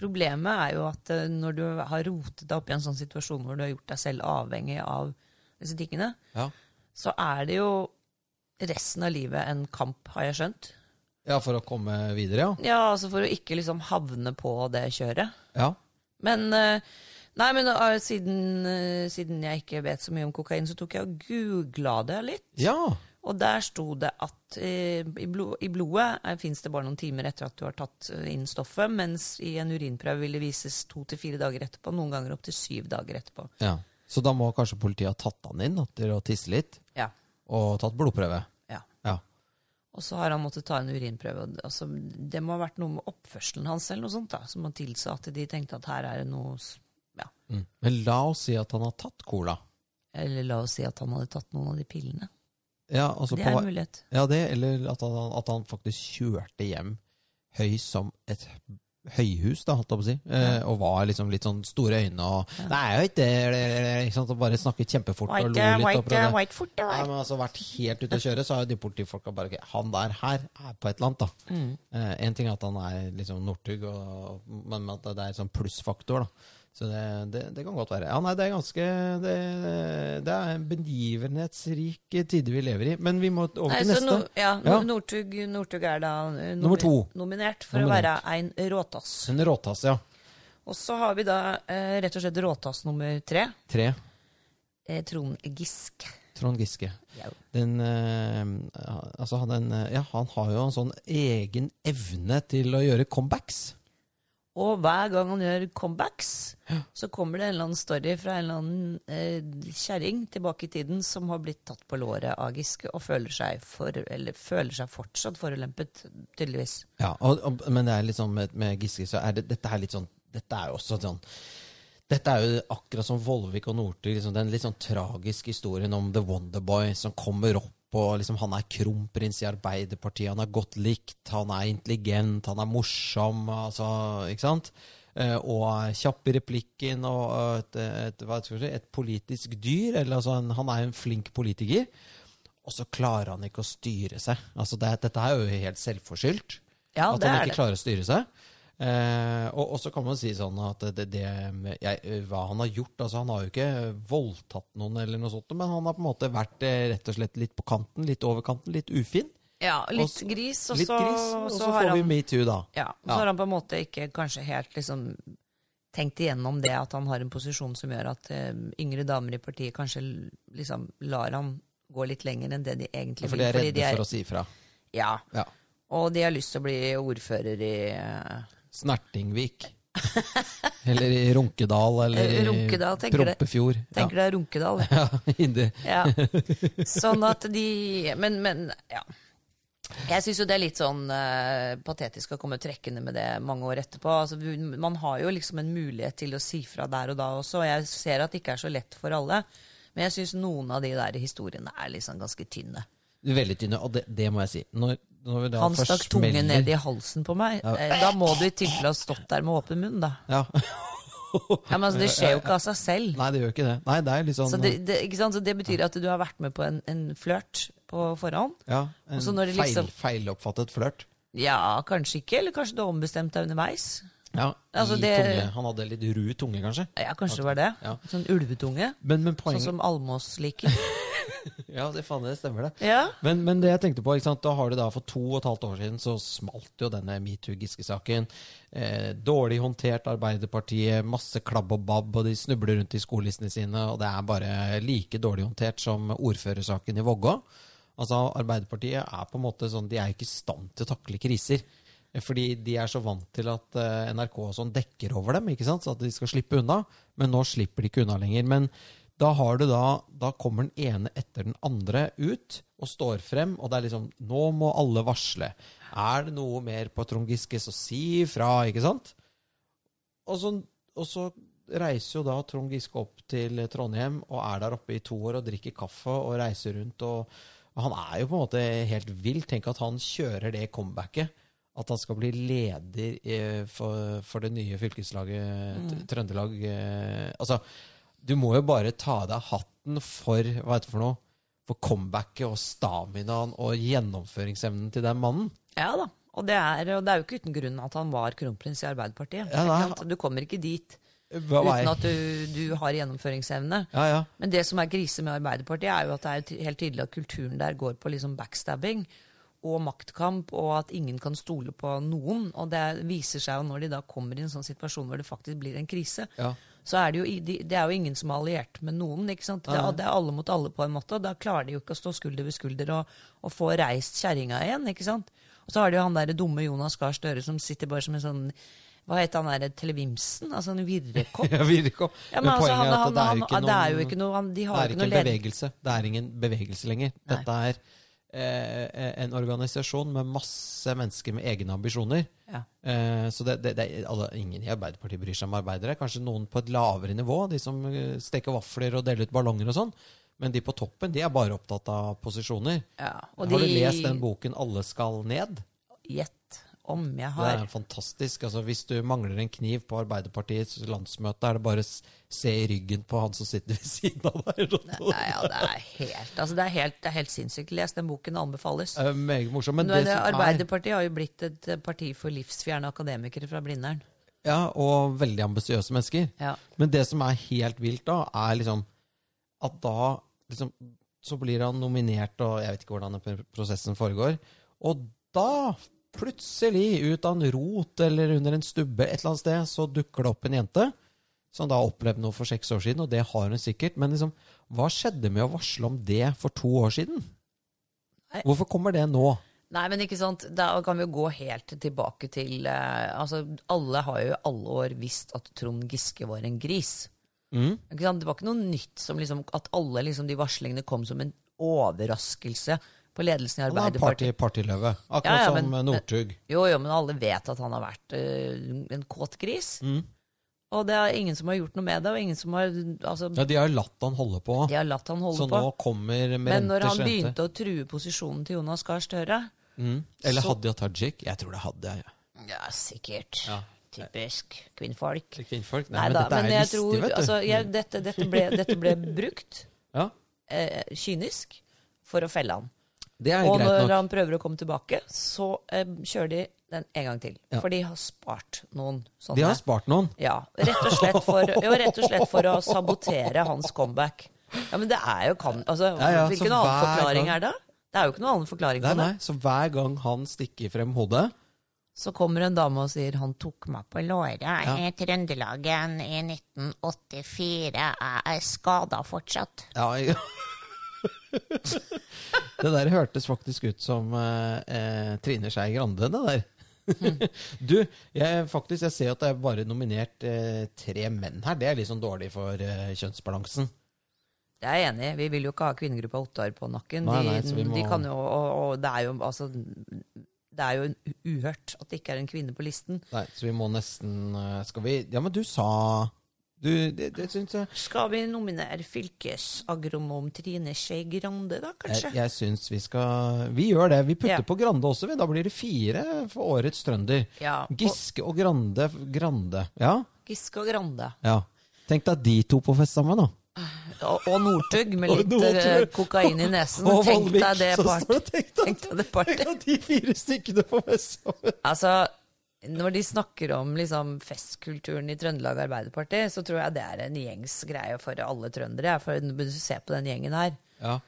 Speaker 2: Problemet er jo at eh, når du har rotet deg opp i en sånn situasjon hvor du har gjort deg selv avhengig av disse tingene,
Speaker 1: Ja.
Speaker 2: så er det jo resten av livet en kamp, har jeg skjønt.
Speaker 1: ja, for å komme videre, ja.
Speaker 2: Ja, altså for å ikke liksom havne på det kjøret.
Speaker 1: ja.
Speaker 2: Men, eh, nei, men eh, siden, eh, siden jeg ikke vet så mye om kokain, så tok jeg og googla det litt.
Speaker 1: Ja!
Speaker 2: Og der sto det at eh, i, blod, i blodet eh, fins det bare noen timer etter at du har tatt eh, inn stoffet, mens i en urinprøve vil det vises to til fire dager etterpå, noen ganger opptil syv dager etterpå.
Speaker 1: ja. Så da må kanskje politiet ha tatt han inn da, til å tisse litt,
Speaker 2: Ja,
Speaker 1: og tatt blodprøve.
Speaker 2: ja.
Speaker 1: Ja.
Speaker 2: Og så har han måttet ta en urinprøve. og det- Altså, det må ha vært noe med oppførselen hans eller noe sånt da, som har tilsa at de tenkte at her er det noe s- ja.
Speaker 1: Mm. Men la oss si at han har tatt cola.
Speaker 2: Eller la oss si at han hadde tatt noen av de pillene.
Speaker 1: Ja, altså
Speaker 2: Det
Speaker 1: på
Speaker 2: er
Speaker 1: vei-
Speaker 2: en mulighet.
Speaker 1: Ja, det, eller at han, at han faktisk kjørte hjem høy som et høyhus, da, holdt jeg på å si. Eh, og var liksom litt sånn store øyne og Nei, jeg vet det, det, det, det, ikke sant, og bare snakket kjempefort og lo
Speaker 2: White,
Speaker 1: litt. og
Speaker 2: white,
Speaker 1: prøvde.
Speaker 2: white fort, det
Speaker 1: Nei,
Speaker 2: var.
Speaker 1: men altså vært helt ute å kjøre, så har jo de politifolka bare ok, Han der her er på et eller annet, da.
Speaker 2: Mm.
Speaker 1: Eh, en ting er at han er liksom Northug, og- men at det er en sånn plussfaktor, da. Så det, det, det kan godt være. Ja, nei, det er ganske Det, det er en begivenhetsrike tider vi lever i. Men vi må over
Speaker 2: Nei,
Speaker 1: til
Speaker 2: så
Speaker 1: neste.
Speaker 2: no, ja, no-
Speaker 1: Ja.
Speaker 2: Northug, Northug er da eh,
Speaker 1: Nummer to.
Speaker 2: nominert for
Speaker 1: Nominert.
Speaker 2: å være en råtass.
Speaker 1: En råtass, ja.
Speaker 2: Og så har vi da eh, rett og slett råtass nummer tre.
Speaker 1: Tre.
Speaker 2: Eh, Trond Gisk.
Speaker 1: Trond Giske.
Speaker 2: Ja.
Speaker 1: Den, eh, altså han, den, eh, ja, han har jo en sånn egen evne til å gjøre comebacks.
Speaker 2: Og hver gang han gjør comebacks, så kommer det en eller annen story fra en eller annen eh, kjerring tilbake i tiden som har blitt tatt på låret av Giske og føler seg, for, eller føler seg fortsatt forulempet, tydeligvis.
Speaker 1: Ja, og, og, men det er liksom med, med Giske så er det, dette er litt sånn Dette er jo også sånn dette er jo akkurat som Vollvik og Northug. Liksom, den litt sånn tragiske historien om The Wonderboy som kommer opp og liksom, han er kronprins i Arbeiderpartiet. Han er godt likt, han er intelligent, han er morsom. Altså, ikke sant? Eh, og er kjapp i replikken og eh, et, et, hva skal jeg si, et politisk dyr. Eller, altså, en, han er en flink politiker. Og så klarer han ikke å styre seg. Altså, det, dette er jo helt selvforskyldt.
Speaker 2: Ja,
Speaker 1: at
Speaker 2: det
Speaker 1: han
Speaker 2: er
Speaker 1: ikke
Speaker 2: det.
Speaker 1: klarer å styre seg. Eh, og, og så kan man si sånn at det, det, jeg, hva han har gjort altså Han har jo ikke voldtatt noen, eller noe sånt, men han har på en måte vært eh, rett og slett litt på kanten, litt over kanten, litt ufin.
Speaker 2: Ja, litt
Speaker 1: så-
Speaker 2: gris, og
Speaker 1: litt
Speaker 2: så,
Speaker 1: gris, og så
Speaker 2: har
Speaker 1: får vi
Speaker 2: han,
Speaker 1: metoo, da.
Speaker 2: ja, og
Speaker 1: Ja.
Speaker 2: så har han på en måte ikke kanskje helt liksom tenkt igjennom det at han har en posisjon som gjør at eh, yngre damer i partiet kanskje l- liksom lar han gå litt lenger enn det de egentlig vil.
Speaker 1: For de er redde for å si ifra.
Speaker 2: Ja,
Speaker 1: Ja.
Speaker 2: og de har lyst til å bli ordfører i eh,
Speaker 1: Snertingvik. eller i Runkedal, eller i
Speaker 2: Runkedal, tenker det.
Speaker 1: Prompefjord.
Speaker 2: Tenker det er Runkedal.
Speaker 1: Ja. Inni-
Speaker 2: Ja. Sånn at de Men, men ja. Jeg syns jo det er litt sånn eh, patetisk å komme trekkende med det mange år etterpå. Altså, vi- man har jo liksom en mulighet til å si fra der og da også, og jeg ser at det ikke er så lett for alle. Men jeg syns noen av de der historiene er liksom ganske tynne.
Speaker 1: Veldig tynne, og det, det må jeg si. Når, når vi da
Speaker 2: Han
Speaker 1: først
Speaker 2: stakk tungen
Speaker 1: melder-
Speaker 2: ned i halsen på meg. Eh, Da må du i tilfelle ha stått der med åpen munn, da.
Speaker 1: ja.
Speaker 2: Ja, men altså, det skjer jo ikke av seg selv.
Speaker 1: Nei, det gjør ikke det. Nei, det er litt sånn
Speaker 2: Så det, det, ikke sant? Så det betyr at du har vært med på en, en flørt på forhånd.
Speaker 1: ja, en
Speaker 2: så når de
Speaker 1: feil,
Speaker 2: liksom-
Speaker 1: feiloppfattet flørt.
Speaker 2: Ja, kanskje ikke. Eller kanskje du har ombestemt deg underveis.
Speaker 1: Ja,
Speaker 2: Altså,
Speaker 1: i
Speaker 2: det-
Speaker 1: tunge. Han hadde litt ru tunge, kanskje.
Speaker 2: Ja, kanskje det var det.
Speaker 1: Ja.
Speaker 2: Sånn ulvetunge.
Speaker 1: Men, men
Speaker 2: Sånn
Speaker 1: poenget
Speaker 2: som Almås liker.
Speaker 1: Ja, det, faen, det stemmer, det.
Speaker 2: Ja.
Speaker 1: Men, men det jeg tenkte på, ikke sant? da har du da for to og et halvt år siden så smalt jo denne metoo-Giske-saken. Eh, dårlig håndtert Arbeiderpartiet, masse klabb og babb, og de snubler rundt i skolelistene sine. Og det er bare like dårlig håndtert som ordførersaken i Vågå. Altså, Arbeiderpartiet er på en måte sånn, de er jo ikke i stand til å takle kriser. Fordi de er så vant til at eh, NRK og sånn dekker over dem, ikke sant? så at de skal slippe unna. Men nå slipper de ikke unna lenger. Men da, har du da, da kommer den ene etter den andre ut og står frem, og det er liksom Nå må alle varsle. Er det noe mer på Trond Giske, så si ifra, ikke sant? Og så, og så reiser jo da Trond Giske opp til Trondheim og er der oppe i to år og drikker kaffe og reiser rundt. og, og Han er jo på en måte helt vill. Tenk at han kjører det comebacket. At han skal bli leder eh, for, for det nye fylkeslaget
Speaker 2: Mm.
Speaker 1: Tr- Trøndelag. eh, Altså, du må jo bare ta av deg hatten for hva heter det for noe, for comebacket og staminaen og gjennomføringsevnen til den mannen.
Speaker 2: Ja da. Og det, er, og det er jo ikke uten grunn at han var kronprins i Arbeiderpartiet.
Speaker 1: Ja, nei.
Speaker 2: Ikke sant? Du kommer ikke dit
Speaker 1: Hva var jeg-
Speaker 2: uten at du, du har gjennomføringsevne.
Speaker 1: Ja, ja.
Speaker 2: Men det som er krise med Arbeiderpartiet, er jo at det er jo ty- helt tydelig at kulturen der går på liksom backstabbing og maktkamp, og at ingen kan stole på noen. Og det viser seg jo når de da kommer i en sånn situasjon hvor det faktisk blir en krise,
Speaker 1: Ja.
Speaker 2: så er det jo, i- de, det er jo ingen som er alliert med noen. ikke sant? Det, er- det er alle mot alle på en måte, og da klarer de jo ikke å stå skulder ved skulder og, og få reist kjerringa igjen. ikke sant? Og så har de jo han derre dumme Jonas Gahr Støre som sitter bare som en sånn hva heter han der, Televimsen? Altså en virrekopp?
Speaker 1: Jeg vil ikke å-
Speaker 2: Ja, men
Speaker 1: men
Speaker 2: altså,
Speaker 1: poenget
Speaker 2: han,
Speaker 1: er at
Speaker 2: han,
Speaker 1: det er
Speaker 2: han,
Speaker 1: jo ikke
Speaker 2: det er jo
Speaker 1: noen-
Speaker 2: ikke noe han, De
Speaker 1: Det
Speaker 2: har
Speaker 1: er
Speaker 2: jo
Speaker 1: ikke
Speaker 2: ikke
Speaker 1: en
Speaker 2: noe ledd.
Speaker 1: bevegelse. Det er ingen bevegelse lenger. Dette er eh, en organisasjon med masse mennesker med egne ambisjoner.
Speaker 2: Ja.
Speaker 1: Eh, så det, det, det er alle, ingen i Arbeiderpartiet bryr seg om arbeidere. Kanskje noen på et lavere nivå, de som eh, steker vafler og deler ut ballonger og sånn. Men de på toppen de er bare opptatt av posisjoner.
Speaker 2: Ja, og
Speaker 1: Har du
Speaker 2: de-
Speaker 1: lest den boken 'Alle skal ned'?
Speaker 2: Gjett om jeg
Speaker 1: Det
Speaker 2: har
Speaker 1: er fantastisk. Altså, hvis du mangler en kniv på Arbeiderpartiets landsmøte, er det bare s- se i ryggen på han som sitter ved siden av deg.
Speaker 2: Nei, ja, det er helt, altså, det er helt, det er helt sinnssykt. Les den boken, det anbefales.
Speaker 1: Det er meget morsomt. Men
Speaker 2: Nå er
Speaker 1: det
Speaker 2: det,
Speaker 1: som er,
Speaker 2: Arbeiderpartiet har jo blitt et eh, parti for livsfjerne akademikere fra Blindern.
Speaker 1: ja, og veldig ambisiøse mennesker.
Speaker 2: Ja.
Speaker 1: Men det som er helt vilt da, er liksom at da liksom, så blir han nominert, og jeg vet ikke hvordan den pr- prosessen foregår. Og da, plutselig, ut av en rot eller under en stubbe et eller annet sted, så dukker det opp en jente som da opplevde noe for seks år siden, og det har hun sikkert. Men liksom, hva skjedde med å varsle om det for to år siden?
Speaker 2: Nei.
Speaker 1: Hvorfor kommer det nå?
Speaker 2: Nei, men ikke sant, da kan vi jo gå helt tilbake til eh, Altså, alle har jo i alle år visst at Trond Giske var en gris.
Speaker 1: Mm.
Speaker 2: Ikke sant? Det var ikke noe nytt som liksom, at alle liksom, de varslingene kom som en overraskelse på ledelsen i
Speaker 1: Han er
Speaker 2: Arbeiderpartiet.
Speaker 1: party, partyløve. Akkurat
Speaker 2: Ja, ja,
Speaker 1: som eh,
Speaker 2: men-
Speaker 1: Northug.
Speaker 2: Jo, jo, men alle vet at han har vært eh, en kåt gris.
Speaker 1: Mm.
Speaker 2: Og det er ingen som har gjort noe med det, og ingen som har Altså,
Speaker 1: Ja, de har jo latt han holde på.
Speaker 2: de har latt han holde
Speaker 1: Så
Speaker 2: på.
Speaker 1: nå kommer med
Speaker 2: Men når
Speaker 1: rente,
Speaker 2: han
Speaker 1: slente.
Speaker 2: begynte å true posisjonen til Jonas Gahr Støre
Speaker 1: Eller
Speaker 2: så-
Speaker 1: Hadia Tajik? Jeg tror det er Hadia. Ja.
Speaker 2: Ja, sikkert. Typisk kvinnfolk.
Speaker 1: Kvinnfolk? Nei,
Speaker 2: Nei
Speaker 1: men
Speaker 2: da,
Speaker 1: dette
Speaker 2: men
Speaker 1: er
Speaker 2: jeg
Speaker 1: listig,
Speaker 2: tror
Speaker 1: vet du. Mm.
Speaker 2: altså, jeg, dette, dette, ble, dette ble brukt
Speaker 1: ja,
Speaker 2: eh, kynisk for å felle han.
Speaker 1: det er
Speaker 2: Og
Speaker 1: greit
Speaker 2: når
Speaker 1: nok.
Speaker 2: han prøver å komme tilbake, så eh, kjører de den en gang til.
Speaker 1: Ja.
Speaker 2: For de har spart noen sånne.
Speaker 1: De har spart noen.
Speaker 2: Ja, rett og slett for, jo, rett og slett for å sabotere hans comeback. Ja, men det er jo kan, altså,
Speaker 1: Ja, ja, så
Speaker 2: Hvilken annen
Speaker 1: hver
Speaker 2: forklaring
Speaker 1: gang-
Speaker 2: er det? Det er jo ikke noen annen forklaring
Speaker 1: Nei,
Speaker 2: på det.
Speaker 1: nei, Så hver gang han stikker frem hodet
Speaker 2: Så kommer en dame og sier 'han tok meg på låret i Trøndelagen i 1984', jeg er skada fortsatt.
Speaker 1: ja, jeg- Det der hørtes faktisk ut som eh, eh, Trine Skei Grande, det der. du, jeg, faktisk, jeg ser at det er bare nominert eh, tre menn her. Det er litt sånn dårlig for eh, kjønnsbalansen.
Speaker 2: Det er jeg enig i. Vi vil jo ikke ha kvinnegruppa Ottar på nakken.
Speaker 1: Nei, nei,
Speaker 2: de,
Speaker 1: så vi må-
Speaker 2: de kan jo, og, og det er jo altså Det er jo en- uhørt at det ikke er en kvinne på listen.
Speaker 1: Nei, så vi må nesten eh, Skal vi Ja, men du sa du, Det, det syns jeg
Speaker 2: Skal vi nominere fylkesagronom Trine Skei Grande, da,
Speaker 1: Jeg,
Speaker 2: kanskje?
Speaker 1: jeg syns vi skal Vi gjør det. Vi putter
Speaker 2: Ja.
Speaker 1: på Grande også, vi. Da blir det fire for årets trønder.
Speaker 2: Ja, og-
Speaker 1: Giske og Grande. Grande. Ja?
Speaker 2: Giske og Grande.
Speaker 1: ja. Tenk deg de to på fest sammen, da.
Speaker 2: Og, og Northug med
Speaker 1: Og
Speaker 2: litt eh,
Speaker 1: Northug.
Speaker 2: kokain i nesen.
Speaker 1: Og
Speaker 2: Tenk
Speaker 1: Vollvik,
Speaker 2: deg det
Speaker 1: så
Speaker 2: part.
Speaker 1: står det, tenk deg-
Speaker 2: Tenk deg det party.
Speaker 1: Tenk at de fire stykkene på fest sammen.
Speaker 2: Altså, når de snakker om liksom, festkulturen i Trøndelag Arbeiderparti, så tror jeg det er en gjengs greie for alle trøndere. For når du ser på den gjengen her,
Speaker 1: Ja.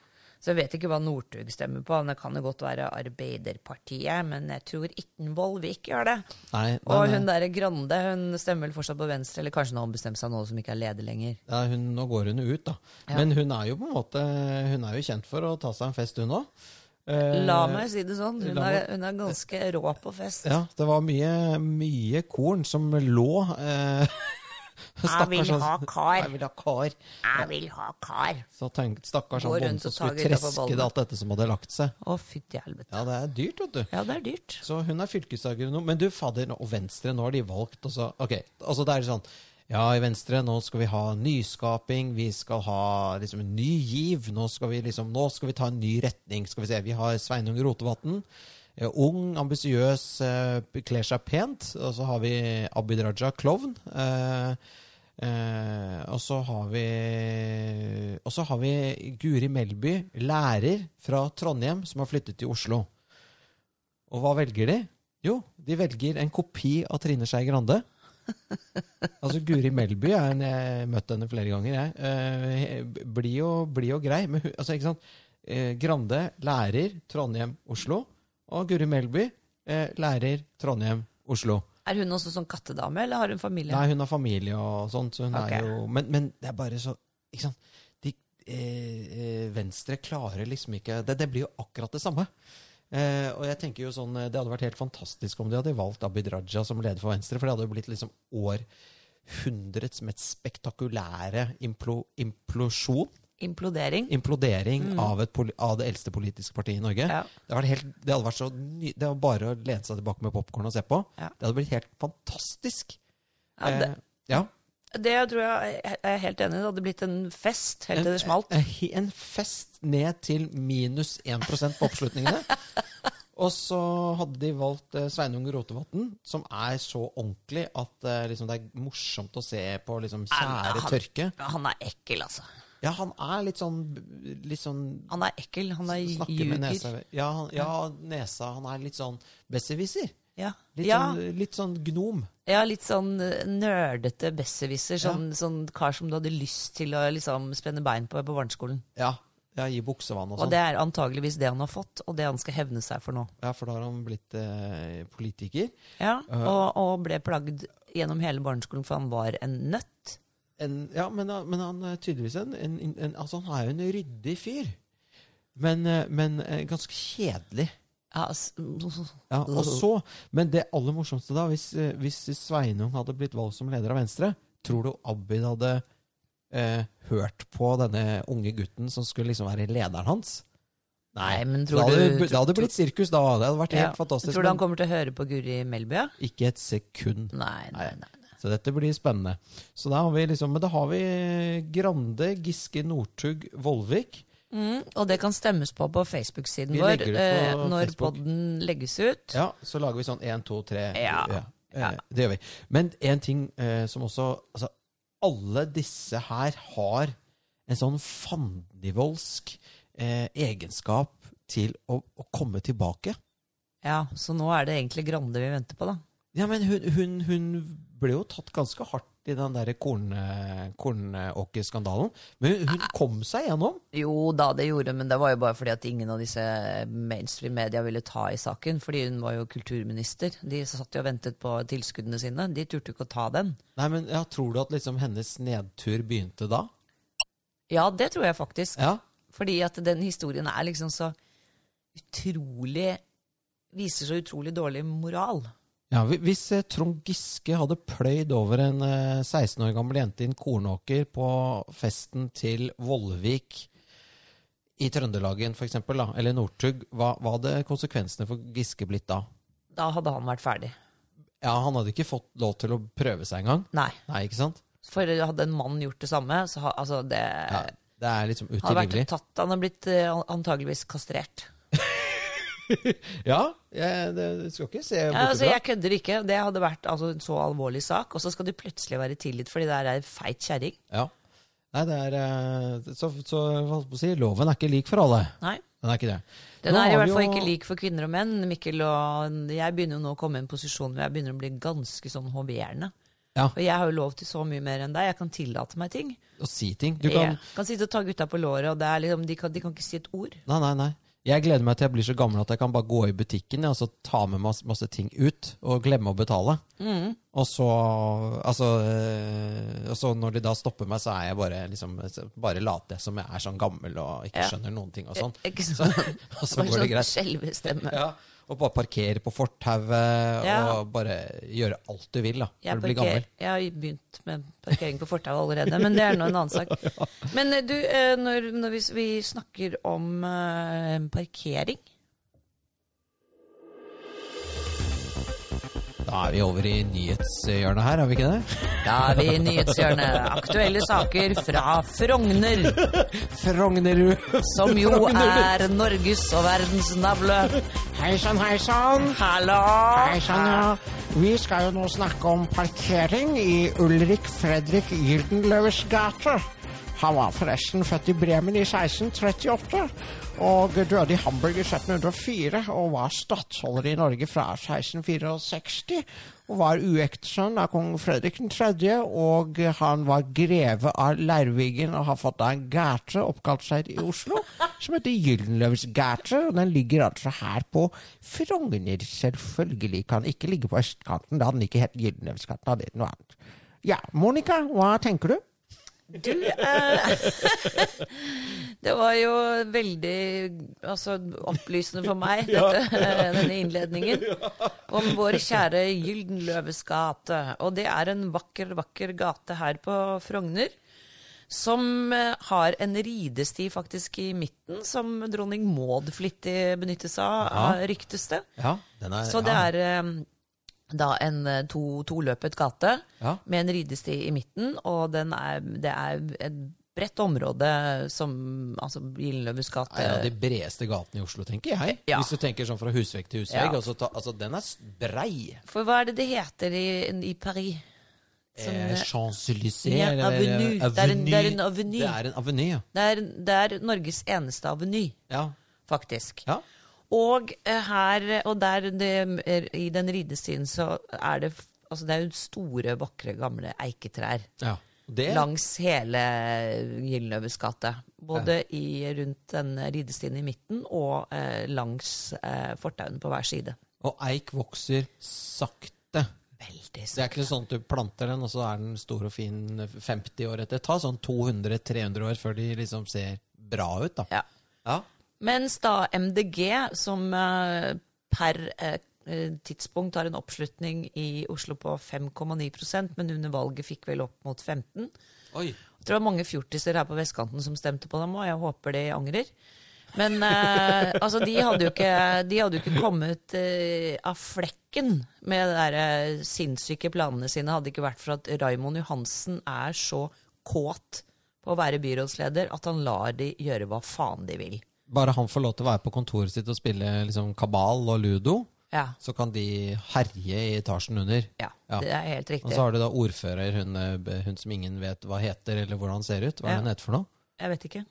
Speaker 2: så jeg vet ikke hva Northug stemmer på. Det kan jo godt være Arbeiderpartiet, men jeg tror ikke en Vollvik gjør det.
Speaker 1: Nei, nei,
Speaker 2: Og
Speaker 1: nei.
Speaker 2: hun derre Grande, hun stemmer vel fortsatt på Venstre, eller kanskje nå har hun bestemt seg nå som ikke er leder lenger.
Speaker 1: Ja, hun, nå går hun jo ut, da. Men hun er jo på en måte Hun er jo kjent for å ta seg en fest, hun òg. Eh,
Speaker 2: La meg si det sånn, hun
Speaker 1: la
Speaker 2: er,
Speaker 1: meg-
Speaker 2: hun er ganske rå på fest.
Speaker 1: Ja, det var mye, mye korn som lå. Eh,
Speaker 2: Jeg vil
Speaker 1: han-
Speaker 2: ha kar.
Speaker 1: Jeg vil ha kar.
Speaker 2: Jeg vil ha kar!
Speaker 1: Så tenk, stakkars han
Speaker 2: Gå rundt
Speaker 1: bonden som
Speaker 2: og
Speaker 1: skulle
Speaker 2: ta gutta på
Speaker 1: treske det
Speaker 2: ballene.
Speaker 1: alt dette som hadde lagt seg.
Speaker 2: Å, fytti helvete.
Speaker 1: Ja, det er dyrt, vet du.
Speaker 2: Ja, det er dyrt.
Speaker 1: Så hun er fylkesagronom. Men du, fader, nå- og Venstre, nå har de valgt altså, Ok, altså det er sånn Ja, i Venstre, nå skal vi ha nyskaping, vi skal ha liksom en ny giv. Nå skal vi liksom, nå skal vi ta en ny retning. Skal vi se, vi har Sveinung Rotevatn. eh, Ung, ambisiøs, eh, kler seg pent. Og så har vi Abid Raja, klovn. Eh, eh, og så har vi Og så har vi Guri Melby, lærer fra Trondheim, som har flyttet til Oslo. Og hva velger de? Jo, de velger en kopi av Trine Skei Grande. Altså, Guri Melby er en Jeg har møtt henne flere ganger, jeg. Eh, Blid og, bli og grei. Men hun, altså, ikke sant? Eh, Grande, lærer, Trondheim, Oslo. Og Guri Melby, eh, lærer, Trondheim, Oslo.
Speaker 2: Er hun også sånn kattedame, eller har hun familie?
Speaker 1: Nei, hun har familie og sånt, så hun
Speaker 2: Ok.
Speaker 1: er jo men, men det er bare så Ikke sant? De, eh, eh, venstre klarer liksom ikke det, det blir jo akkurat det samme. Eh, og jeg tenker jo sånn eh, Det hadde vært helt fantastisk om de hadde valgt Abid Raja som leder for Venstre, for det hadde jo blitt liksom århundrets mest spektakulære implo, implosjon,
Speaker 2: Implodering?
Speaker 1: implodering av, et, poli- av det eldste politiske partiet i Norge.
Speaker 2: Mm. Ja.
Speaker 1: Det, hadde vært helt, det hadde vært så ny, Det var bare å lene seg tilbake med popkorn og se på.
Speaker 2: Ja.
Speaker 1: Det hadde blitt helt fantastisk.
Speaker 2: Ja, det,
Speaker 1: Eh, ja.
Speaker 2: det tror jeg jeg er helt enig i. Det hadde blitt en fest helt til det smalt.
Speaker 1: En, en fest ned til minus 1 på oppslutningene. Og så hadde de valgt eh, Sveinung Rotevatn, som er så ordentlig at eh, liksom, det er morsomt å se på liksom,
Speaker 2: Nei,
Speaker 1: kjære
Speaker 2: men han-
Speaker 1: tørke.
Speaker 2: Han er ekkel, altså.
Speaker 1: Ja, han er litt sånn, litt sånn
Speaker 2: Han er ekkel. Han er
Speaker 1: Snakker med nesa
Speaker 2: ljuger.
Speaker 1: ja, han, ja, nesa. Han er litt sånn besserwisser.
Speaker 2: Ja.
Speaker 1: Litt,
Speaker 2: Ja,
Speaker 1: sånn, litt sånn gnom.
Speaker 2: ja, litt sånn eh, nerdete besserwisser. Sånn, sånn kar som du hadde lyst til å liksom spenne bein på på barneskolen.
Speaker 1: Ja, ja gi buksevann og
Speaker 2: Og
Speaker 1: sånn.
Speaker 2: det er antageligvis det han har fått, og det han skal hevne seg for nå.
Speaker 1: Ja, for da har han blitt eh, politiker.
Speaker 2: Ja,
Speaker 1: Eh.
Speaker 2: og, og ble plagd gjennom hele barneskolen, for han var en nøtt.
Speaker 1: en, ja, men, han- men han er tydeligvis en, en, en Altså, han er jo en ryddig fyr. Men, eh, men eh, ganske kjedelig.
Speaker 2: Ja, s-
Speaker 1: Ja, og
Speaker 2: Mm.
Speaker 1: så, men det aller morsomste da, hvis, eh, hvis Sveinung hadde blitt valgt som leder av Venstre, tror du Abid hadde eh, hørt på denne unge gutten som skulle liksom være lederen hans?
Speaker 2: Nei, men
Speaker 1: Det
Speaker 2: tror
Speaker 1: hadde,
Speaker 2: du
Speaker 1: det hadde blitt sirkus da. Det hadde vært helt
Speaker 2: Ja.
Speaker 1: fantastisk.
Speaker 2: Tror du han
Speaker 1: Men
Speaker 2: kommer til å høre på Guri Melby? ja?
Speaker 1: ikke et sekund.
Speaker 2: Nei, nei, nei.
Speaker 1: Så dette blir spennende. Så da har vi liksom, Men da har vi Grande, Giske, Northug, Vollvik.
Speaker 2: Mm, og det kan stemmes på på Facebook-siden
Speaker 1: Vi
Speaker 2: vår
Speaker 1: legger det på
Speaker 2: eh, når
Speaker 1: Facebook.
Speaker 2: podden legges ut.
Speaker 1: Ja, så lager vi sånn 1, 2, 3.
Speaker 2: Ja. Ja.
Speaker 1: Eh, Det gjør vi. Men en ting eh, som også altså, Alle disse her har en sånn fandenivoldsk eh, egenskap til å, å komme tilbake.
Speaker 2: Ja, Så nå er det egentlig Grande vi venter på, da.
Speaker 1: Ja, men hun, hun, hun ble jo tatt ganske hardt i den derre korn- eh, kornåkerskandalen. Men hun,
Speaker 2: Ah.
Speaker 1: hun kom seg gjennom.
Speaker 2: Jo da, det gjorde hun, men det var jo bare fordi at ingen av disse mainstream-media ville ta i saken. Fordi hun var jo kulturminister. De satt jo og ventet på tilskuddene sine. De turte jo ikke å ta den.
Speaker 1: Nei, men ja, Tror du at liksom hennes nedtur begynte da?
Speaker 2: Ja, det tror jeg faktisk.
Speaker 1: Ja.
Speaker 2: Fordi at den historien er liksom så utrolig Viser så utrolig dårlig moral.
Speaker 1: Ja, hvi- Hvis eh, Trond Giske hadde pløyd over en eh, 16 år gammel jente i en kornåker på festen til Vollvik i Trøndelagen for eksempel, da, eller Northug, hva, hva hadde konsekvensene for Giske blitt da?
Speaker 2: Da hadde han vært ferdig.
Speaker 1: Ja, Han hadde ikke fått lov til å prøve seg engang.
Speaker 2: Nei.
Speaker 1: Nei, ikke sant?
Speaker 2: For hadde en mann gjort det samme, så ha, altså det
Speaker 1: Ja, det er liksom
Speaker 2: hadde vært
Speaker 1: utilgivelig.
Speaker 2: tatt, Han har blitt eh, antageligvis kastrert.
Speaker 1: Ja, jeg, det, du skal ikke se
Speaker 2: Ja,
Speaker 1: bort
Speaker 2: altså,
Speaker 1: ifra.
Speaker 2: jeg kødder ikke. Det hadde vært altså, en så alvorlig sak. Og så skal du plutselig være tilgitt fordi det er ei feit kjerring.
Speaker 1: Ja. Nei, det er eh, Så, så hva skal jeg si, loven er ikke lik for alle.
Speaker 2: Nei.
Speaker 1: Den er ikke det.
Speaker 2: Den
Speaker 1: Nå
Speaker 2: er i
Speaker 1: har
Speaker 2: hvert
Speaker 1: vi
Speaker 2: fall
Speaker 1: jo-
Speaker 2: ikke lik for kvinner og menn. Mikkel og Jeg begynner jo nå å komme i en posisjon hvor jeg begynner å bli ganske sånn hoverende.
Speaker 1: Ja.
Speaker 2: Og jeg har jo lov til så mye mer enn deg. Jeg kan tillate meg ting.
Speaker 1: Å si ting. Du kan
Speaker 2: jeg kan sitte og ta gutta på låret, og det er liksom, de, kan, de kan ikke si et ord.
Speaker 1: Nei, nei, nei. Jeg gleder meg til jeg blir så gammel at jeg kan bare gå i butikken ja, og så ta med masse, masse ting ut og glemme å betale.
Speaker 2: Mm.
Speaker 1: Og så altså, eh, og så når de da stopper meg, så er jeg bare liksom, bare late som jeg er sånn gammel og ikke
Speaker 2: Ja.
Speaker 1: skjønner noen ting og sånn.
Speaker 2: Ikke sant?
Speaker 1: Og så går det
Speaker 2: Bare sånn
Speaker 1: greit.
Speaker 2: skjelvestemme.
Speaker 1: Ja, og bare parkere på fortauet
Speaker 2: Ja.
Speaker 1: og bare gjøre alt du vil da,
Speaker 2: Jeg,
Speaker 1: når du blir
Speaker 2: parker,
Speaker 1: gammel.
Speaker 2: jeg har begynt med parkering på fortauet allerede, men det er nå en annen sak. Men eh, du, eh, når, når vi, vi snakker om eh, parkering
Speaker 1: Da er vi over i nyhetshjørnet her, er vi ikke det?
Speaker 2: Da er vi i nyhetshjørnet. Aktuelle saker fra Frogner,
Speaker 1: Frognerud!
Speaker 2: som jo
Speaker 1: Frogner.
Speaker 2: er Norges og verdens navle.
Speaker 3: Hei sann, hei sann.
Speaker 2: Hallo!
Speaker 3: Hei sann, ja. Vi skal jo nå snakke om parkering i Ulrik Fredrik Gyldenløves gate. Han var forresten født i Bremen i 1638 og døde i Hamburg i 1704 og var stattholder i Norge fra 1664 og var uektesønn av kong Fredrik 3. og han var greve av Leirvigen og har fått da en gate oppkalt seg i Oslo som heter Gyldenløves gate, og den ligger altså her på Frogner, selvfølgelig. Kan ikke ligge på østkanten, da hadde den ikke hett Gyldenløvsgaten, da hadde den noe annet. Ja, Monica, hva tenker du?
Speaker 2: Du eh, Det var jo veldig altså, opplysende for meg, dette, eh, denne innledningen. Om vår kjære Gyldenløves gate. Og det er en vakker, vakker gate her på Frogner. Som eh, har en ridesti faktisk i midten, som dronning Maud flittig benyttes av,
Speaker 1: Ja.
Speaker 2: eh, ryktes det.
Speaker 1: Ja, den er,
Speaker 2: Så det
Speaker 1: ja.
Speaker 2: er eh, da en eh, to, toløpet gate
Speaker 1: Ja.
Speaker 2: med en ridesti i midten, og den er, det er et bredt område som altså Gyldenløves gate
Speaker 1: Det er en av de bredeste gatene i Oslo, tenker jeg.
Speaker 2: Eh, Ja.
Speaker 1: Hvis du tenker sånn fra husvegg til husvegg.
Speaker 2: Ja.
Speaker 1: Altså, ta, altså, den er s- brei.
Speaker 2: For hva er det det heter i, i Paris? Som,
Speaker 1: Eh,
Speaker 2: eh,
Speaker 1: Champs-Élysées.
Speaker 2: Ja,
Speaker 1: eller-
Speaker 2: avenue. Det er en- det er en avenue.
Speaker 1: Det er en avenue, ja.
Speaker 2: det, er, det er Norges eneste aveny,
Speaker 1: ja.
Speaker 2: faktisk.
Speaker 1: ja.
Speaker 2: Og eh, her, og der det, er, i den ridestien så er det f- Altså det er jo store, vakre, gamle eiketrær.
Speaker 1: ja. Det,
Speaker 2: langs hele Gyldenløves gate. Både i, rundt den ridestien i midten og eh, langs eh, fortauene på hver side.
Speaker 1: og eik vokser sakte.
Speaker 2: Veldig
Speaker 1: Det er ikke sånn at du planter den, og så er den stor og fin 50 år etter. Ta sånn 200-300 år før de liksom ser bra ut, da.
Speaker 2: Ja.
Speaker 1: Ja.
Speaker 2: Mens da MDG, som eh, per eh, eh, tidspunkt har en oppslutning i Oslo på 5,9 men under valget fikk vel opp mot 15
Speaker 1: Oi.
Speaker 2: Jeg tror det var mange fjortiser her på vestkanten som stemte på dem, og jeg håper de angrer. Men eh, altså, de hadde jo ikke, de hadde jo ikke kommet eh, av flekken med de der, eh, sinnssyke planene sine, hadde det ikke vært for at Raimond Johansen er så kåt på å være byrådsleder at han lar de gjøre hva faen de vil.
Speaker 1: Bare han får lov til å være på kontoret sitt og spille liksom kabal og ludo.
Speaker 2: Ja,
Speaker 1: så kan de herje i etasjen under.
Speaker 2: ja,
Speaker 1: Ja.
Speaker 2: det er helt
Speaker 1: Og
Speaker 2: riktig.
Speaker 1: så har du da ordfører, hun, eh, hun som ingen vet hva heter, eller hvordan ser ut. Hva er
Speaker 2: Ja.
Speaker 1: hun heter for noe?
Speaker 2: Jeg vet ikke.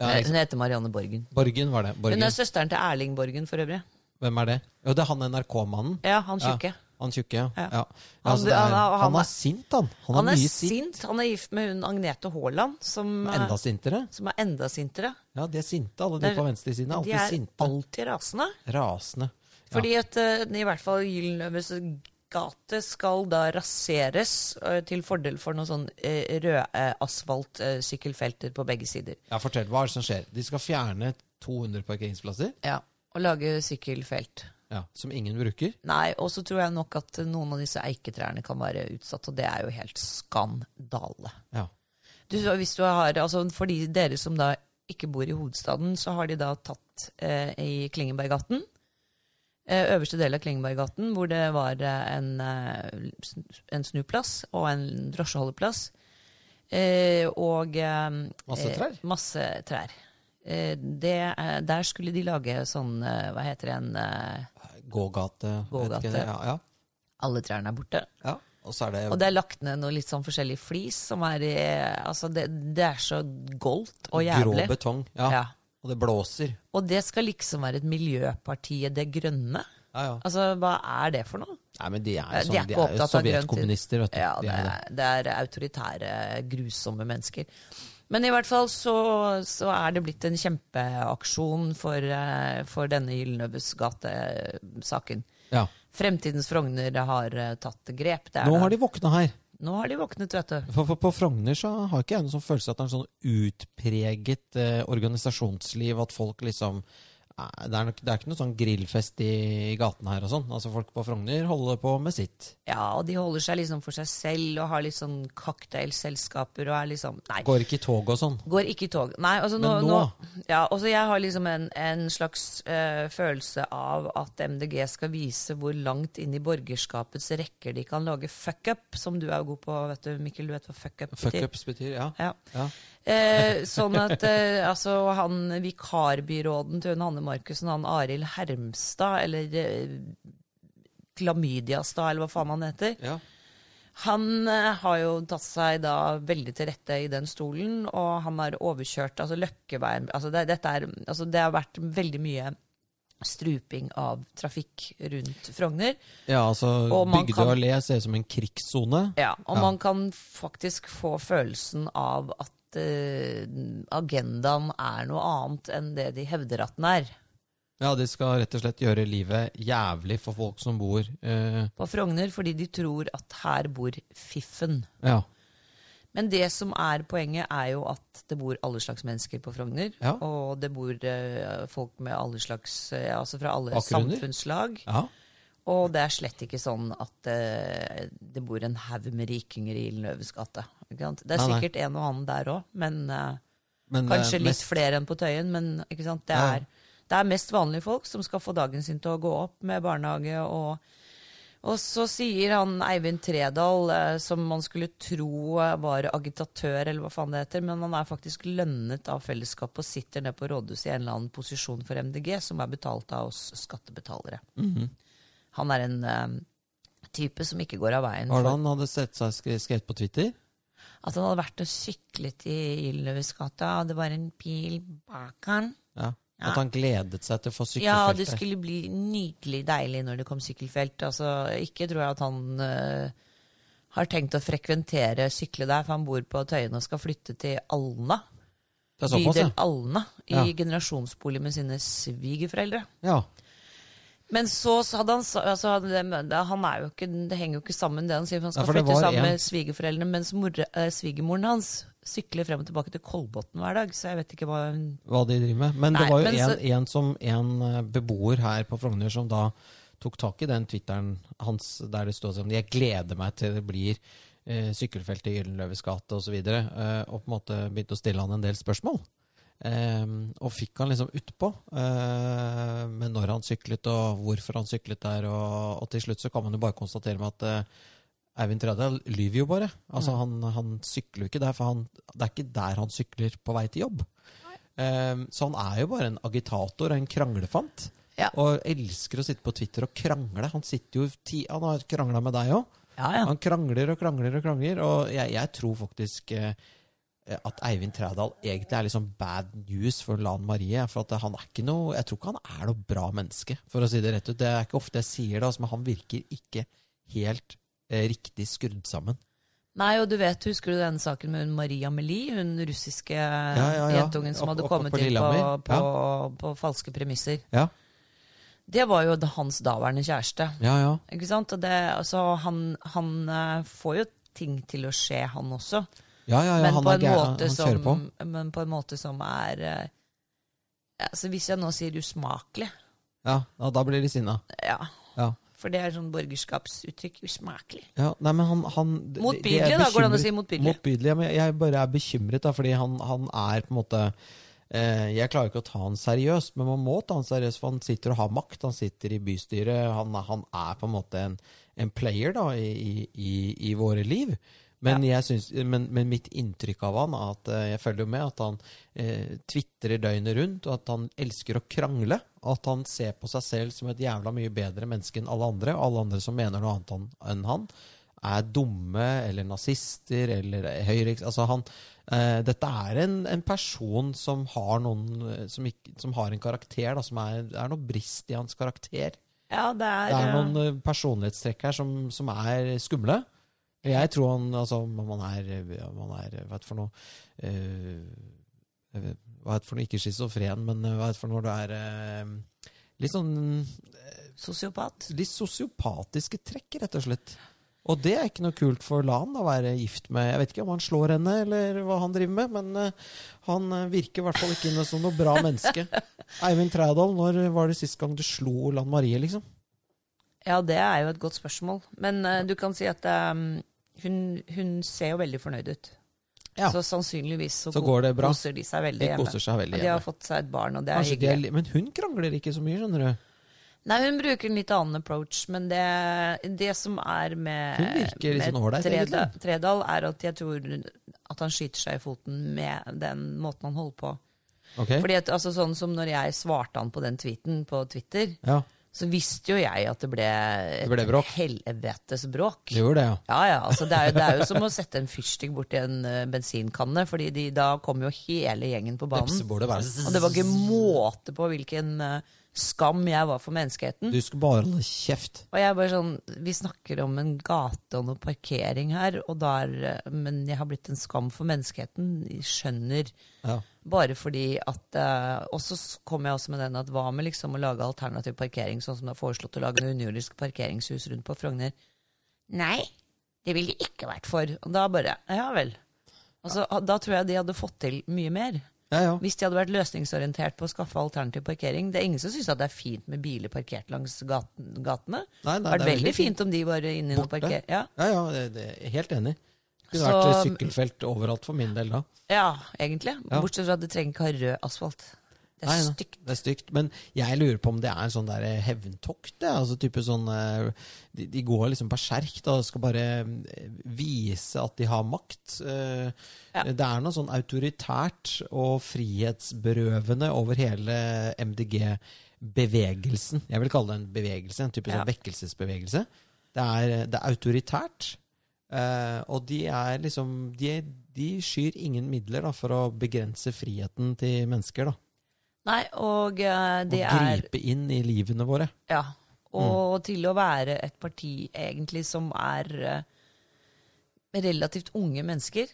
Speaker 1: Ja,
Speaker 2: Eh,
Speaker 1: ikke-
Speaker 2: Hun heter Marianne Borgen.
Speaker 1: Borgen var det.
Speaker 2: Hun
Speaker 1: Borgen.
Speaker 2: er søsteren til Erling Borgen, for øvrig.
Speaker 1: Hvem er det? Jo, det er han NRK-mannen.
Speaker 2: Ja, han tjukke.
Speaker 1: Han tjukke, ja.
Speaker 2: Ja.
Speaker 1: ja. ja
Speaker 2: Han-
Speaker 1: altså, det er,
Speaker 2: han- han-
Speaker 1: han er sint, han. Han er,
Speaker 2: Han er
Speaker 1: mye sint.
Speaker 2: sint. Han er gift med hun Agnete Haaland, som eh,
Speaker 1: Enda sintere.
Speaker 2: som er enda sintere.
Speaker 1: Ja, de er sinte, alle de
Speaker 2: Det er-
Speaker 1: på venstresiden. er
Speaker 2: De
Speaker 1: Alltid
Speaker 2: er
Speaker 1: sinte.
Speaker 2: alltid rasende.
Speaker 1: Rasende. Ja.
Speaker 2: Fordi at eh, i hvert fall Gyldenløves gate skal da raseres eh, til fordel for noen sånn eh, røde asfaltsykkelfelter på begge sider.
Speaker 1: Ja, fortell, hva er det som skjer? De skal fjerne 200 parkeringsplasser
Speaker 2: Ja, Og lage sykkelfelt.
Speaker 1: ja, som ingen bruker.
Speaker 2: Nei, og så tror jeg nok at noen av disse eiketrærne kan være utsatt, og det er jo helt skandale.
Speaker 1: Ja.
Speaker 2: Du, hvis du har, altså for de dere som da ikke bor i hovedstaden, så har de da tatt eh, i Klingeberggaten, eh, øverste del av Klingeberggaten, hvor det var eh, en, eh, sn- en snuplass og en drosjeholdeplass, eh, og eh,
Speaker 1: Masse
Speaker 2: eh,
Speaker 1: trær?
Speaker 2: Masse trær. Eh, det, eh, der skulle de lage sånn, eh, hva heter det, en eh,
Speaker 1: Gågate. vet
Speaker 2: Gågate.
Speaker 1: ikke det. Ja, ja.
Speaker 2: alle trærne er borte.
Speaker 1: ja. Og så er det
Speaker 2: Og det er lagt ned noe litt sånn forskjellig flis, som er i, altså det, det er så goldt og jævlig.
Speaker 1: grå betong. Ja.
Speaker 2: Ja.
Speaker 1: Og det blåser.
Speaker 2: Og det skal liksom være et miljøpartiet Det Grønne?
Speaker 1: Ja, ja.
Speaker 2: Altså, hva er det for noe?
Speaker 1: Nei, men de er
Speaker 2: Eh,
Speaker 1: jo,
Speaker 2: de
Speaker 1: sånn,
Speaker 2: er
Speaker 1: de er
Speaker 2: ikke
Speaker 1: jo
Speaker 2: opptatt av grønt.
Speaker 1: sovjetkommunister, vet du.
Speaker 2: Ja,
Speaker 1: de
Speaker 2: det
Speaker 1: er jo det.
Speaker 2: er, det er autoritære, grusomme mennesker. Men i hvert fall så, så er det blitt en kjempeaksjon for, eh, for denne Gyldenløves gate-saken.
Speaker 1: Ja.
Speaker 2: Fremtidens Frogner har eh, tatt grep. Det er
Speaker 1: Nå
Speaker 2: da-
Speaker 1: har de våkna her.
Speaker 2: Nå har de våknet, vet du.
Speaker 1: For, for På Frogner så har ikke jeg noen sånn følelse at det er en sånn utpreget eh, organisasjonsliv, at folk liksom eh, det er, nok, det er ikke noe sånn grillfest i, i gatene her og sånn. Altså Folk på Frogner holder på med sitt.
Speaker 2: Ja, og de holder seg liksom for seg selv og har litt sånn cocktailselskaper og er liksom Nei.
Speaker 1: Går ikke i tog og sånn.
Speaker 2: Går ikke i tog. Nei, altså nå,
Speaker 1: Men
Speaker 2: nå,
Speaker 1: nå-
Speaker 2: Ja, altså jeg har liksom en, en slags eh, følelse av at MDG skal vise hvor langt inn i borgerskapets rekker de kan lage fuck-up, som du er jo god på, vet du, Mikkel. Du vet hva fuck-up betyr?
Speaker 1: Fuckups betyr ja.
Speaker 2: Ja.
Speaker 1: ja.
Speaker 2: Eh, sånn at eh, altså han vikarbyråden til hun Hanne Markussen, han Arild Hermstad, eller eh, Klamydiastad, eller hva faen han heter,
Speaker 1: ja.
Speaker 2: han eh, har jo tatt seg da veldig til rette i den stolen, og han har overkjørt altså Løkkeveien altså det, dette er, altså det har vært veldig mye struping av trafikk rundt Frogner.
Speaker 1: Ja, altså
Speaker 2: Og man
Speaker 1: Bygdøy
Speaker 2: kan-
Speaker 1: allé ser ut som en krigssone.
Speaker 2: Ja, og
Speaker 1: Ja.
Speaker 2: man kan faktisk få følelsen av at eh, agendaen er noe annet enn det de hevder at den er.
Speaker 1: Ja, de skal rett og slett gjøre livet jævlig for folk som bor eh,
Speaker 2: På Frogner fordi de tror at her bor fiffen.
Speaker 1: Ja.
Speaker 2: Men det som er poenget, er jo at det bor alle slags mennesker på Frogner.
Speaker 1: Ja.
Speaker 2: Og det bor eh, folk med alle slags eh, Altså fra alle
Speaker 1: Bakgrunner.
Speaker 2: samfunnslag.
Speaker 1: ja.
Speaker 2: Og det er slett ikke sånn at eh, det bor en haug med rikinger i Gyldenløves gate. ikke sant? Det er
Speaker 1: Nei, nei.
Speaker 2: sikkert en og annen der òg, men eh,
Speaker 1: Men, eh,
Speaker 2: kanskje litt
Speaker 1: mest-
Speaker 2: flere enn på Tøyen. Men ikke sant? Det,
Speaker 1: Ja.
Speaker 2: er, det er mest vanlige folk som skal få dagen sin til å gå opp med barnehage og og så sier han Eivind Tredal, eh, som man skulle tro eh, var agitatør, eller hva faen det heter, men han er faktisk lønnet av fellesskapet og sitter nede på rådhuset i en eller annen posisjon for MDG, som er betalt av oss skattebetalere.
Speaker 1: Mhm.
Speaker 2: Han er en eh, type som ikke går av veien.
Speaker 1: Var
Speaker 2: for-
Speaker 1: det han hadde sett seg skre- skrevet på Twitter?
Speaker 2: At han hadde vært og syklet i Gyldenløvesgata, og det var en bil bak han.
Speaker 1: Ja.
Speaker 2: Ja.
Speaker 1: At han gledet seg til å få
Speaker 2: Ja, det
Speaker 1: sykkelfeltet?
Speaker 2: skulle bli nydelig deilig når det kom sykkelfelt. Altså, ikke tror jeg at han eh, har tenkt å frekventere sykle der, for han bor på Tøyen og skal flytte til Alna.
Speaker 1: Det er såpass,
Speaker 2: Bydel
Speaker 1: ja.
Speaker 2: Alna, i
Speaker 1: Ja.
Speaker 2: generasjonsbolig med sine svigerforeldre.
Speaker 1: ja.
Speaker 2: Men så så hadde han sa- altså, det, det- han er jo ikke, Det henger jo ikke sammen, det han sier. For han skal
Speaker 1: Nei, for det
Speaker 2: flytte
Speaker 1: var
Speaker 2: sammen
Speaker 1: en-
Speaker 2: med svigerforeldrene, mens mor, eh, svigermoren hans sykler frem og tilbake til Kolbotn hver dag. Så jeg vet ikke hva hun
Speaker 1: Hva de driver med. Men det
Speaker 2: Nei,
Speaker 1: var jo
Speaker 2: men
Speaker 1: en,
Speaker 2: så-
Speaker 1: en, som, en eh, beboer her på Frogner som da tok tak i den Twitteren hans der det stod som Jeg gleder meg til det blir eh, sykkelfelt i Gyldenløves gate osv. Eh, og på en måte begynte å stille han en del spørsmål. Eh, og fikk han liksom utpå eh, med når han syklet og hvorfor han syklet der. Og, og til slutt så kan man jo bare konstatere med at eh, Eivind Trædal lyver jo bare. Altså
Speaker 2: Mm.
Speaker 1: han, han sykler jo ikke der, for han, det er ikke der han sykler på vei til jobb. Ehm, så han er jo bare en agitator og en kranglefant.
Speaker 2: Ja.
Speaker 1: Og elsker å sitte på Twitter og krangle. Han, sitter jo ti, han har krangla med deg òg.
Speaker 2: Ja, ja.
Speaker 1: Han krangler og krangler og krangler. Og jeg, jeg tror faktisk eh, at Eivind Trædal egentlig er litt sånn bad news for Lan Marie. For at han er ikke noe, jeg tror ikke han er noe bra menneske, for å si det rett ut. Det er ikke ofte jeg sier det, altså, men han virker ikke helt eh, riktig skrudd sammen.
Speaker 2: Nei, og du vet, husker du den saken med hun Maria Melie, hun russiske
Speaker 1: ja, ja.
Speaker 2: jentungen som
Speaker 1: Opp-
Speaker 2: hadde
Speaker 1: opp-
Speaker 2: kommet
Speaker 1: opp på
Speaker 2: inn på,
Speaker 1: Lillehammer,
Speaker 2: på, på falske premisser?
Speaker 1: Ja,
Speaker 2: Det var jo da- hans daværende kjæreste.
Speaker 1: ja, ja.
Speaker 2: Ikke sant? Og det, altså, han, han eh, får jo ting til å skje, han også.
Speaker 1: ja, ja, ja
Speaker 2: men,
Speaker 1: han
Speaker 2: på
Speaker 1: er
Speaker 2: en
Speaker 1: gæ- han-
Speaker 2: måte
Speaker 1: han kjører på.
Speaker 2: som, men på en måte som er eh, altså, Hvis jeg nå sier usmakelig,
Speaker 1: Ja, ja, da blir de sinna.
Speaker 2: ja.
Speaker 1: Ja.
Speaker 2: For det er sånn borgerskapsuttrykk. Usmakelig.
Speaker 1: Ja, nei, men han, han det-
Speaker 2: Motbydelig,
Speaker 1: det er
Speaker 2: da, går det an å
Speaker 1: bekymret-
Speaker 2: si motbydelig?
Speaker 1: Motbydelig, ja, men jeg bare er bekymret, da, fordi han, han er på en måte eh, Jeg klarer ikke å ta han seriøst, men man må ta han seriøst, for han sitter og har makt. Han sitter i bystyret, han, er- han er på en måte en, en player da, i, i, i våre liv. Men, jeg syns, men, men mitt inntrykk av han er at eh, jeg følger jo med at han eh, tvitrer døgnet rundt, og at han elsker å krangle. Og at han ser på seg selv som et jævla mye bedre menneske enn alle andre. Og alle andre som mener noe annet han, enn han, er dumme eller nazister eller høyreeks... Altså han, eh, dette er en, en person som har noen eh, som, ikke, som har en karakter, da, som er, det er noe brist i hans karakter.
Speaker 2: Ja, det er,
Speaker 1: Det er
Speaker 2: eh,
Speaker 1: noen eh, personlighetstrekk her som, som er skumle. Jeg tror han altså, om han er, eh, om han er eh, Hva er det for noe eh, jeg vet- Hva er det for noe? Ikke schizofren, men eh, hva er det for noe når du er eh, litt sånn
Speaker 2: eh, Sosiopat.
Speaker 1: Litt sosiopatiske trekk, rett og slett. Og det er ikke noe kult for Lan å være gift med. Jeg vet ikke om han slår henne, eller hva han driver med, men eh, han eh, virker i hvert fall ikke noe- som noe bra menneske. Eivind Trædal, når var det sist gang du slo Lan Marie, liksom?
Speaker 2: Ja, det er jo et godt spørsmål. Men eh, du kan si at eh, hun, hun ser jo veldig fornøyd ut.
Speaker 1: Ja.
Speaker 2: Så sannsynligvis så,
Speaker 1: Så
Speaker 2: ko-
Speaker 1: går det bra.
Speaker 2: koser de seg veldig
Speaker 1: De
Speaker 2: hjemme.
Speaker 1: koser seg veldig
Speaker 2: Og de har
Speaker 1: hjemme.
Speaker 2: fått seg et barn, og det er
Speaker 1: Kanskje de
Speaker 2: hyggelig.
Speaker 1: er, li- men hun krangler ikke så mye, skjønner du.
Speaker 2: Nei, hun bruker en litt annen approach, men det, det som er med,
Speaker 1: Hun virker litt
Speaker 2: med
Speaker 1: sånn ålreit,
Speaker 2: Tredal,
Speaker 1: egentlig.
Speaker 2: Tredal, er at jeg tror at han skyter seg i foten med den måten han holder på.
Speaker 1: Ok?
Speaker 2: Fordi at, altså sånn som når jeg svarte han på den tweeten på Twitter,
Speaker 1: Ja,
Speaker 2: så visste jo jeg at det ble et
Speaker 1: Det ble bråk.
Speaker 2: helvetes bråk.
Speaker 1: det gjorde det, ja.
Speaker 2: Ja, ja, altså det er, jo, det er jo som å sette en fyrstikk borti en eh, bensinkanne, fordi de, da kom jo hele gjengen på banen.
Speaker 1: Vepsebålet bare
Speaker 2: Og det var ikke måte på hvilken eh, skam jeg var for menneskeheten.
Speaker 1: Du skal bare holde kjeft.
Speaker 2: Og jeg er bare sånn, Vi snakker om en gate og noe parkering her, og da er, men jeg har blitt en skam for menneskeheten. Jeg Skjønner.
Speaker 1: Ja.
Speaker 2: Bare fordi at eh, Og så s- kom jeg også med den at hva med liksom å lage alternativ parkering, sånn som det er foreslått å lage noe underjordisk parkeringshus rundt på Frogner? Nei, det ville de ikke vært for. Og da bare Ja vel. Altså, da tror jeg de hadde fått til mye mer.
Speaker 1: Ja, ja.
Speaker 2: Hvis de hadde vært løsningsorientert på å skaffe alternativ parkering. Det er ingen som syns at det er fint med biler parkert langs gaten, gatene.
Speaker 1: Nei, nei,
Speaker 2: det hadde vært veldig fint om de var inne og
Speaker 1: Borte.
Speaker 2: parkerte. Ja.
Speaker 1: Ja, ja, det, det, helt enig. Det kunne
Speaker 2: Så-
Speaker 1: vært sykkelfelt overalt for min del da.
Speaker 2: ja, egentlig.
Speaker 1: Ja.
Speaker 2: Bortsett fra at de trenger ikke ha rød asfalt. Det er
Speaker 1: Nei, nei,
Speaker 2: stygt.
Speaker 1: Det er stygt. Men jeg lurer på om det er en sånn der hevntokt. det. Altså type sånn eh, De, de går liksom berserk da, og skal bare eh, vise at de har makt. Eh,
Speaker 2: Ja.
Speaker 1: Det er noe sånn autoritært og frihetsberøvende over hele MDG-bevegelsen. Jeg vil kalle det en bevegelse, en type
Speaker 2: Ja.
Speaker 1: sånn vekkelsesbevegelse. Det er, eh, det er autoritært. Eh, og de er liksom de, de skyr ingen midler da, for å begrense friheten til mennesker. da
Speaker 2: Nei, og eh, det
Speaker 1: å
Speaker 2: er
Speaker 1: gripe inn i livene våre.
Speaker 2: Ja. Og til å være et parti egentlig som er eh, relativt unge mennesker,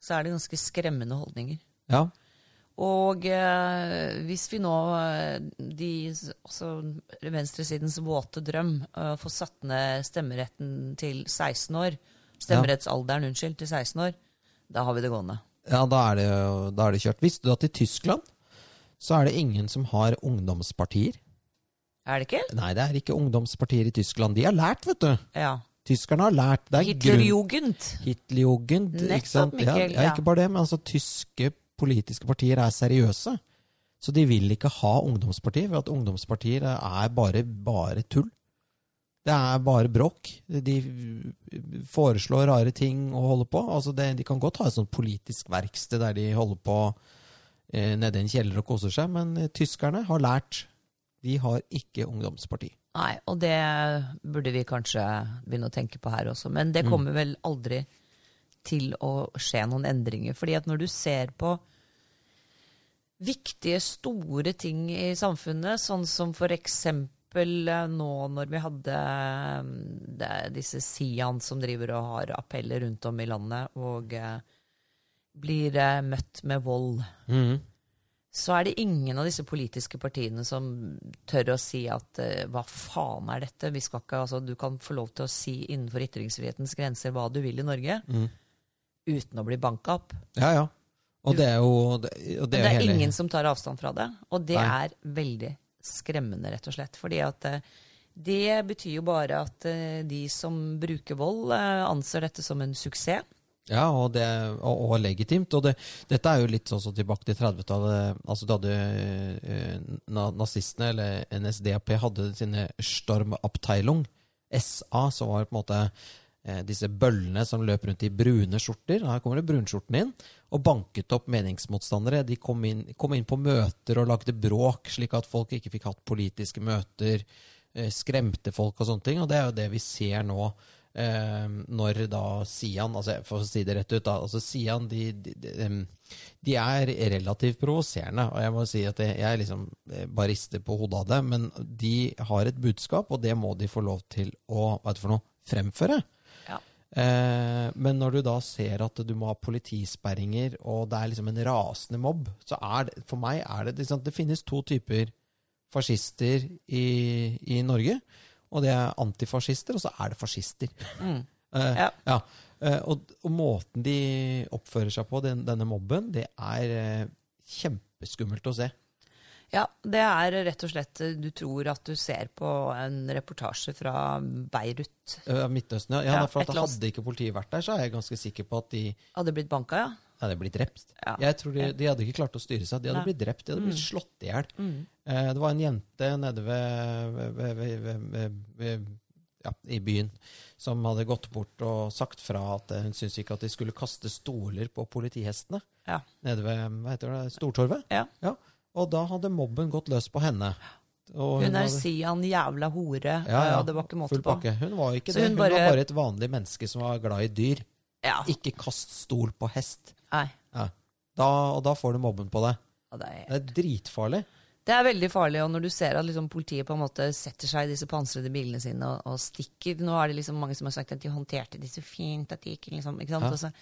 Speaker 2: så er det ganske skremmende holdninger.
Speaker 1: Ja.
Speaker 2: Og eh, hvis vi nå, eh, de, altså venstresidens våte drøm, eh, får satt ned stemmeretten til 16 år, stemmerettsalderen, unnskyld, til 16 år, da har vi det gående.
Speaker 1: da, er det, da er det kjørt. Visste du at i Tyskland så er det ingen som har ungdomspartier?
Speaker 2: Er det ikke?
Speaker 1: Nei, det er ikke ungdomspartier i Tyskland. De har lært, vet du.
Speaker 2: Ja.
Speaker 1: Tyskerne har lært. Det er grunn...
Speaker 2: Hitlerjugend.
Speaker 1: Hitlerjugend.
Speaker 2: Nettopp,
Speaker 1: Ikke sant? Ja,
Speaker 2: Mikkel,
Speaker 1: ja,
Speaker 2: ja.
Speaker 1: ikke bare det, men altså tyske politiske partier er seriøse. Så de vil ikke ha ungdomspartier, for at ungdomspartier er bare, bare tull. Det er bare bråk. De foreslår rare ting å holde på. Altså det, de kan godt ha et sånt politisk verksted der de holder på eh, nede i en kjeller og koser seg, men eh, tyskerne har lært. De har ikke ungdomsparti.
Speaker 2: Nei, og det burde vi kanskje begynne å tenke på her også. Men det kommer vel aldri til å skje noen endringer. Fordi at når du ser på viktige, store ting i samfunnet, sånn som for eksempel eh, nå når vi hadde eh, det, disse Sian som driver og har appeller rundt om i landet og eh, blir eh, møtt med vold så er det ingen av disse politiske partiene som tør å si at eh, hva faen er dette? Vi skal ikke, altså, du kan få lov til å si innenfor ytringsfrihetens grenser hva du vil i Norge, uten å bli banka opp.
Speaker 1: Ja, ja. Og det er jo det, og det er
Speaker 2: Men det
Speaker 1: jo
Speaker 2: er
Speaker 1: hele-
Speaker 2: ingen som tar avstand fra det, og det
Speaker 1: Nei.
Speaker 2: er veldig skremmende, rett og slett. Fordi at eh, det betyr jo bare at eh, de som bruker vold, eh, anser dette som en suksess.
Speaker 1: Ja, og, det, og, og legitimt. Og det, dette er jo litt sånn som tilbake til 30-tallet. Altså, du hadde eh, na, nazistene, eller NSDAP, hadde sine Stormabteilung, SA, som var på en måte eh, disse bøllene som løp rundt i brune skjorter. Her kommer det brunskjortene inn. Og banket opp meningsmotstandere. De kom inn, kom inn på møter og lagde bråk, slik at folk ikke fikk hatt politiske møter. eh, Skremte folk og sånne ting. Og det er jo det vi ser nå. Eh, når da Sian, altså for å si det rett ut, da, altså Sian de, de, de, em, de er relativt provoserende. Og jeg må si at jeg, jeg liksom eh, bare rister på hodet av det, men de har et budskap, og det må de få lov til å hva er det for noe, fremføre.
Speaker 2: Ja.
Speaker 1: Eh, men når du da ser at du må ha politisperringer, og det er liksom en rasende mobb, så er det For meg er det liksom, Det finnes to typer fascister i, i Norge. Og det er antifascister, og så er det fascister. Eh,
Speaker 2: Mm. Ja.
Speaker 1: ja. Eh, og, og måten de oppfører seg på, den, denne mobben, det er eh, kjempeskummelt å se.
Speaker 2: Ja, det er rett og slett eh, Du tror at du ser på en reportasje fra Beirut.
Speaker 1: Eh, Midtøsten, ja. ja,
Speaker 2: Ja,
Speaker 1: for
Speaker 2: et
Speaker 1: at
Speaker 2: eller annet.
Speaker 1: Hadde ikke politiet vært der, så er jeg ganske sikker på at de
Speaker 2: Hadde blitt banka, ja.
Speaker 1: Ja, de hadde blitt drept.
Speaker 2: Ja. Mm.
Speaker 1: Jeg tror de, de hadde ikke klart å styre seg. De hadde
Speaker 2: Nei.
Speaker 1: blitt drept, de hadde blitt slått i hjel. Eh, det var en jente nede ved, ved, ved, ved, ved, ved ja, i byen som hadde gått bort og sagt fra at eh, hun syntes ikke at de skulle kaste stoler på politihestene
Speaker 2: Ja.
Speaker 1: nede ved hva heter det, Stortorvet.
Speaker 2: ja.
Speaker 1: Ja. Og da hadde mobben gått løs på henne. Og
Speaker 2: Hun er
Speaker 1: hadde-
Speaker 2: Sian jævla hore,
Speaker 1: ja, ja,
Speaker 2: og det var ikke måte
Speaker 1: full
Speaker 2: på.
Speaker 1: pakke. Hun var ikke
Speaker 2: Så
Speaker 1: det.
Speaker 2: hun
Speaker 1: Hun
Speaker 2: bare-
Speaker 1: var bare et vanlig menneske som var glad i dyr.
Speaker 2: Ja,
Speaker 1: Ikke kast stol på hest.
Speaker 2: nei.
Speaker 1: Ja. Da, og da får du mobben på deg.
Speaker 2: Ja, det, er,
Speaker 1: Det er dritfarlig.
Speaker 2: det er veldig farlig, og når du ser at liksom politiet på en måte setter seg i disse pansrede bilene sine og, og stikker Nå er det liksom mange som har sagt at de håndterte de så fint, at de ikke liksom ikke sant?
Speaker 1: Ja.
Speaker 2: Altså,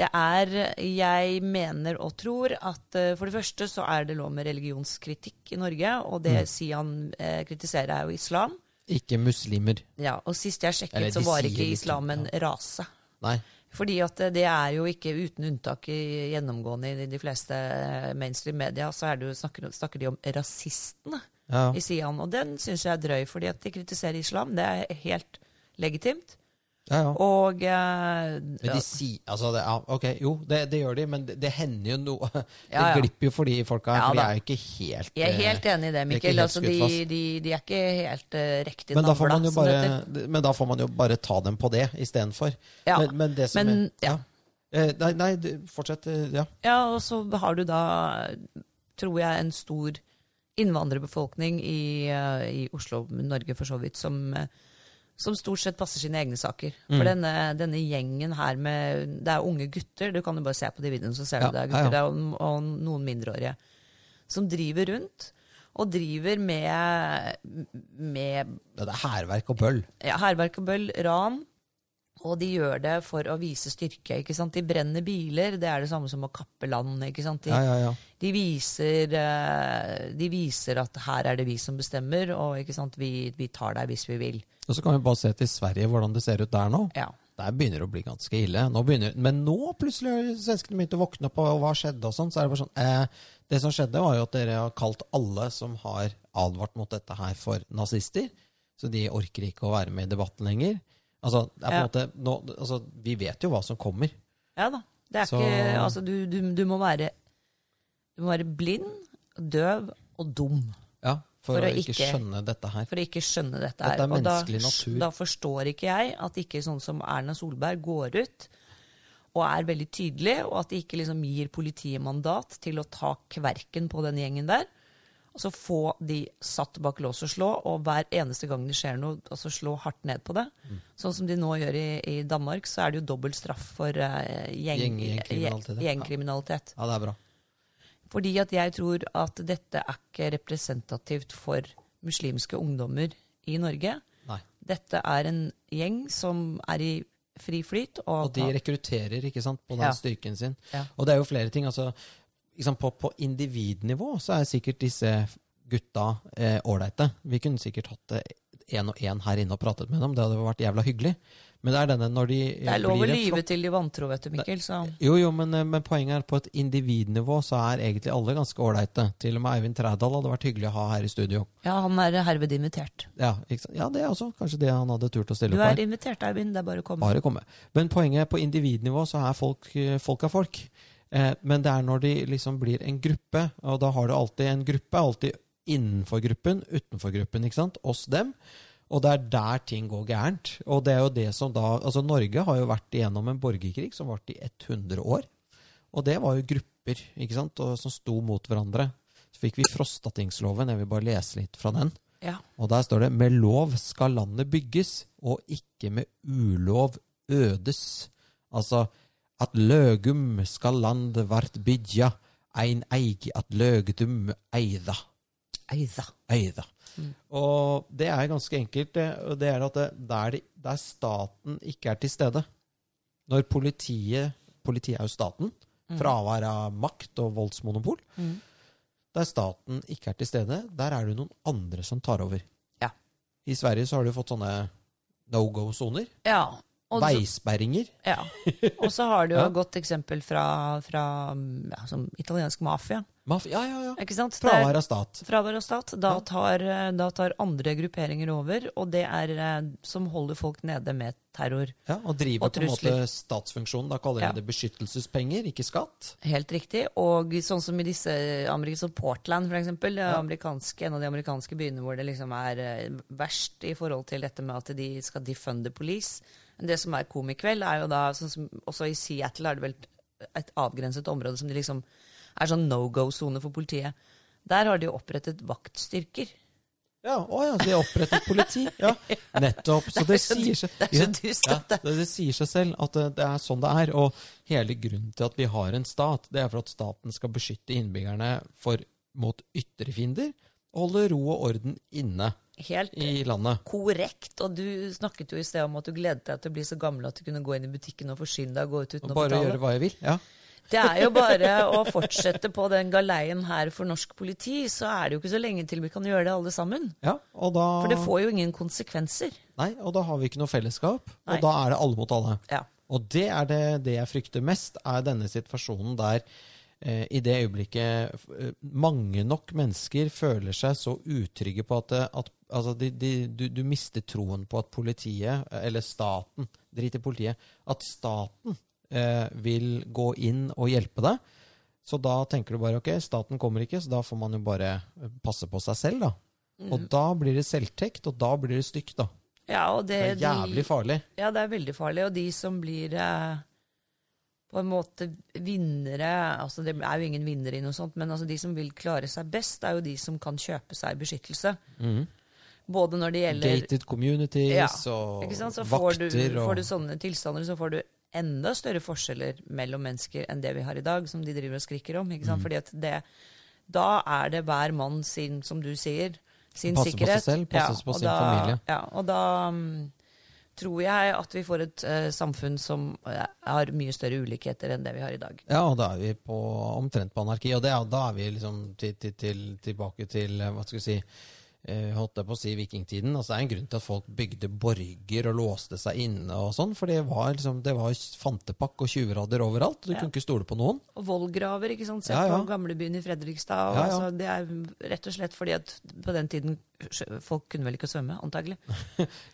Speaker 2: det er, jeg mener og tror, at eh, for det første så er det lov med religionskritikk i Norge,
Speaker 1: Mm.
Speaker 2: og det Sian eh, kritiserer, er jo islam.
Speaker 1: Ikke muslimer.
Speaker 2: Ja, og sist jeg sjekket,
Speaker 1: Eller de
Speaker 2: så var
Speaker 1: sier
Speaker 2: ikke
Speaker 1: ikke,
Speaker 2: islam en rase.
Speaker 1: Nei.
Speaker 2: Fordi at det er jo ikke uten unntak i- gjennomgående i de fleste eh, mainstream media, så er det jo, snakker, snakker de om rasistene
Speaker 1: Ja.
Speaker 2: i Sian. Og den syns jeg er drøy, fordi at de kritiserer islam. Det er helt legitimt.
Speaker 1: Ja, ja.
Speaker 2: Og eh,
Speaker 1: Men de sier Altså, det, ja, ok, jo, det, det gjør de, men det, det hender jo noe Det
Speaker 2: Ja, ja.
Speaker 1: glipper jo for de folka her,
Speaker 2: Ja,
Speaker 1: for de
Speaker 2: da.
Speaker 1: er jo ikke helt
Speaker 2: jeg er
Speaker 1: eh,
Speaker 2: helt enig i det,
Speaker 1: er ikke
Speaker 2: Mikkel.
Speaker 1: helt
Speaker 2: altså, de,
Speaker 1: skutt fast.
Speaker 2: de, de er ikke helt eh, riktig
Speaker 1: men da, får
Speaker 2: navla,
Speaker 1: man jo
Speaker 2: som det
Speaker 1: bare,
Speaker 2: heter.
Speaker 1: men da får man jo bare ta dem på det istedenfor.
Speaker 2: Ja,
Speaker 1: Men, men det som
Speaker 2: men-
Speaker 1: ja. Eh, Nei, nei du, fortsett. eh, Ja.
Speaker 2: Ja, og så har du da, tror jeg, en stor innvandrerbefolkning i, eh, i Oslo, Norge for så vidt, som, eh, som stort sett passer sine egne saker.
Speaker 1: Mm.
Speaker 2: For denne, denne gjengen her med Det er unge gutter, du kan jo bare se på de videoene, så ser
Speaker 1: Ja,
Speaker 2: du det
Speaker 1: ja,
Speaker 2: er
Speaker 1: ja.
Speaker 2: gutter. Det er, jo- og noen mindreårige. Som driver rundt, og driver med, med
Speaker 1: Det er hærverk og bøll.
Speaker 2: ja, hærverk og bøll, ran. Og de gjør det for å vise styrke. ikke sant? De brenner biler, det er det samme som å kappe land. ikke sant? De,
Speaker 1: Ja, ja, ja.
Speaker 2: de, viser, eh, de viser at her er det vi som bestemmer, og ikke sant? Vi, vi tar deg hvis vi vil.
Speaker 1: Og så kan vi bare se til Sverige hvordan det ser ut der nå.
Speaker 2: Ja.
Speaker 1: Der begynner det å bli ganske ille. Nå begynner, men nå plutselig har svenskene begynt å våkne opp, og hva skjedde og sånn. Så er det bare sånn eh, Det som skjedde, var jo at dere har kalt alle som har advart mot dette her, for nazister. Så de orker ikke å være med i debatten lenger. Altså, det er på en
Speaker 2: Ja.
Speaker 1: måte, nå, altså, vi vet jo hva som kommer.
Speaker 2: Ja da. Det er
Speaker 1: Så-
Speaker 2: ikke Altså, du, du, du må være Du må være blind, døv og dum
Speaker 1: Ja, for,
Speaker 2: For
Speaker 1: å
Speaker 2: å
Speaker 1: ikke
Speaker 2: ikke-
Speaker 1: skjønne dette her.
Speaker 2: for å ikke skjønne dette her.
Speaker 1: Dette er
Speaker 2: Og da-
Speaker 1: menneskelig natur.
Speaker 2: Da forstår ikke jeg at ikke sånn som Erna Solberg går ut og er veldig tydelig, og at de ikke liksom gir politiet mandat til å ta kverken på den gjengen der. Og så få de satt bak lås og slå, og hver eneste gang det skjer noe, altså slå hardt ned på det. Sånn som de nå gjør i, i Danmark, så er det jo dobbel straff for eh, gjeng,
Speaker 1: Gjeng- gjengkriminalitet, ja.
Speaker 2: gjengkriminalitet.
Speaker 1: Ja, det er bra.
Speaker 2: Fordi at jeg tror at dette er ikke representativt for muslimske ungdommer i Norge.
Speaker 1: Nei.
Speaker 2: Dette er en gjeng som er i fri flyt. Og,
Speaker 1: Og de rekrutterer ikke sant, på den
Speaker 2: Ja.
Speaker 1: styrken sin.
Speaker 2: Ja.
Speaker 1: Og det er jo flere ting. altså ikke sant, på, på individnivå så er sikkert disse gutta eh, ålreite. Vi kunne sikkert hatt én og én her inne og pratet med dem. Det hadde vært jævla hyggelig. Men det er denne når de eh,
Speaker 2: det er lov å
Speaker 1: blir en
Speaker 2: lyve
Speaker 1: flokk-
Speaker 2: til de vantro, vet du, Mikkel. Så.
Speaker 1: Jo, jo, men, eh, men poenget er på et individnivå så er egentlig alle ganske ålreite. Til og med Eivind Trædal hadde vært hyggelig å ha her i studio.
Speaker 2: Ja, han er herved invitert.
Speaker 1: Ja, ikke sant? ja det er også kanskje det han hadde turt å stille
Speaker 2: Du
Speaker 1: opp her.
Speaker 2: er invitert, Eivind. Det er bare å komme.
Speaker 1: Bare komme. Men poenget på individnivå så er folk, folk er folk. Eh, men det er når de liksom blir en gruppe, og da har du alltid en gruppe. Alltid innenfor gruppen, utenfor gruppen, ikke sant? Oss, dem. Og det er der ting går gærent. Og det er jo det som da Altså, Norge har jo vært igjennom en borgerkrig som varte i 100 år. Og det var jo grupper ikke sant? Og, som sto mot hverandre. Så fikk vi Frostatingsloven. Jeg vil bare lese litt fra den.
Speaker 2: Ja.
Speaker 1: Og der står det 'Med lov skal landet bygges, og ikke med ulov ødes'. Altså at løgum skal landet vart bygja, ein eigi at løgdum eida.
Speaker 2: Eida.
Speaker 1: Eida.
Speaker 2: Mm.
Speaker 1: Og det er ganske enkelt. eh, og Det er at det, der, de- der staten ikke er til stede Når politiet Politiet er jo staten.
Speaker 2: Mm.
Speaker 1: Fravær av makt og voldsmonopol. Der staten ikke er til stede, der er det noen andre som tar over.
Speaker 2: Ja.
Speaker 1: I Sverige så har du fått sånne no go-soner.
Speaker 2: Ja. Og,
Speaker 1: Veisperringer.
Speaker 2: ja. og så har du jo
Speaker 1: Ja.
Speaker 2: et godt eksempel fra, fra mm, ja, som italiensk mafia.
Speaker 1: Maf ja, ja, ja.
Speaker 2: Ikke sant? Det er-
Speaker 1: Fravær av stat.
Speaker 2: Fravær av stat. Da tar, eh, da tar andre grupperinger over, og det er eh, som holder folk nede med terror.
Speaker 1: Ja, og drive
Speaker 2: Og
Speaker 1: på en måte
Speaker 2: trusler.
Speaker 1: statsfunksjonen. Da kaller de
Speaker 2: Ja.
Speaker 1: det beskyttelsespenger, ikke skatt.
Speaker 2: Helt riktig. Og sånn som i disse amerikanske som Portland, for eksempel. det er Amerikanske, en av de amerikanske byene hvor det liksom er eh, verst i forhold til dette med at de skal defunde police. Men Det som er komikveld, er jo da sånn som Også i Seattle er det vel et avgrenset område som de liksom er sånn no go-sone for politiet. Der har de jo opprettet vaktstyrker.
Speaker 1: Ja, å ja, så de har opprettet politi. Ja, nettopp. Så det
Speaker 2: så-
Speaker 1: sier seg,
Speaker 2: det er så
Speaker 1: ja,
Speaker 2: dust
Speaker 1: ja,
Speaker 2: at det-
Speaker 1: det, det sier seg selv at det, det er sånn det er. Og hele grunnen til at vi har en stat, det er for at staten skal beskytte innbyggerne for, mot ytre fiender og holde ro og orden inne
Speaker 2: Helt
Speaker 1: i landet.
Speaker 2: korrekt. Og du snakket jo i sted om at du gledet deg til å bli så gammel at du kunne gå inn i butikken og forsyne deg og gå ut uten
Speaker 1: Og
Speaker 2: å
Speaker 1: bare
Speaker 2: betale.
Speaker 1: gjøre hva jeg vil. Ja.
Speaker 2: Det er jo bare å fortsette på den galeien her for norsk politi, så er det jo ikke så lenge til vi kan gjøre det alle sammen.
Speaker 1: ja, og da
Speaker 2: For det får jo ingen konsekvenser.
Speaker 1: Nei, og da har vi ikke noe fellesskap. Og
Speaker 2: Nei.
Speaker 1: da er det alle mot alle.
Speaker 2: Ja.
Speaker 1: Og det er det, det jeg frykter mest, er denne situasjonen der eh, i det øyeblikket f- eh, mange nok mennesker føler seg så utrygge på at, det- at altså de, de, du, du mister troen på at politiet, eh, eller staten, drit i politiet, at staten eh, vil gå inn og hjelpe deg. Så da tenker du bare ok, staten kommer ikke, så da får man jo bare eh, passe på seg selv, da. Og da blir det selvtekt, og da blir det stygt, da.
Speaker 2: Ja, og det,
Speaker 1: Det er jævlig farlig.
Speaker 2: Eh, De, ja, det er veldig farlig. Og de som blir eh, på en måte vinnere altså Det er jo ingen vinnere i noe sånt, men altså de som vil klare seg best, er jo de som kan kjøpe seg beskyttelse.
Speaker 1: Mhm.
Speaker 2: Både når det gjelder
Speaker 1: Gated communities
Speaker 2: Ja,
Speaker 1: og
Speaker 2: ikke sant? Så får
Speaker 1: vakter
Speaker 2: du,
Speaker 1: og
Speaker 2: får du sånne tilstander, så får du enda større forskjeller mellom mennesker enn det vi har i dag, som de driver og skriker om. Ikke
Speaker 1: Mm.
Speaker 2: sant? Fordi at det, da er det hver mann sin, som du sier,
Speaker 1: Passer
Speaker 2: sin
Speaker 1: på seg
Speaker 2: sikkerhet.
Speaker 1: selv, passer på
Speaker 2: og
Speaker 1: sin
Speaker 2: da,
Speaker 1: familie.
Speaker 2: Ja, og da mm, tror jeg at vi får et eh, samfunn som eh, har mye større ulikheter enn det vi har i dag.
Speaker 1: Ja, og da er vi på omtrent på anarki. Og det, er- da er vi liksom til, til, til, tilbake til eh, hva skal vi si eh, holdt jeg på å si vikingtiden. altså Det er en grunn til at folk bygde borger og låste seg inne. og sånn, For det var liksom, det var fantepakk og tjuvrader overalt. Du kunne ikke stole på noen.
Speaker 2: Og vollgraver, ikke sant? Se
Speaker 1: Ja, ja.
Speaker 2: på gamlebyen i Fredrikstad. Og,
Speaker 1: Ja, ja.
Speaker 2: Altså, det er rett og slett fordi at på den tiden sjø- folk kunne vel ikke svømme, antagelig.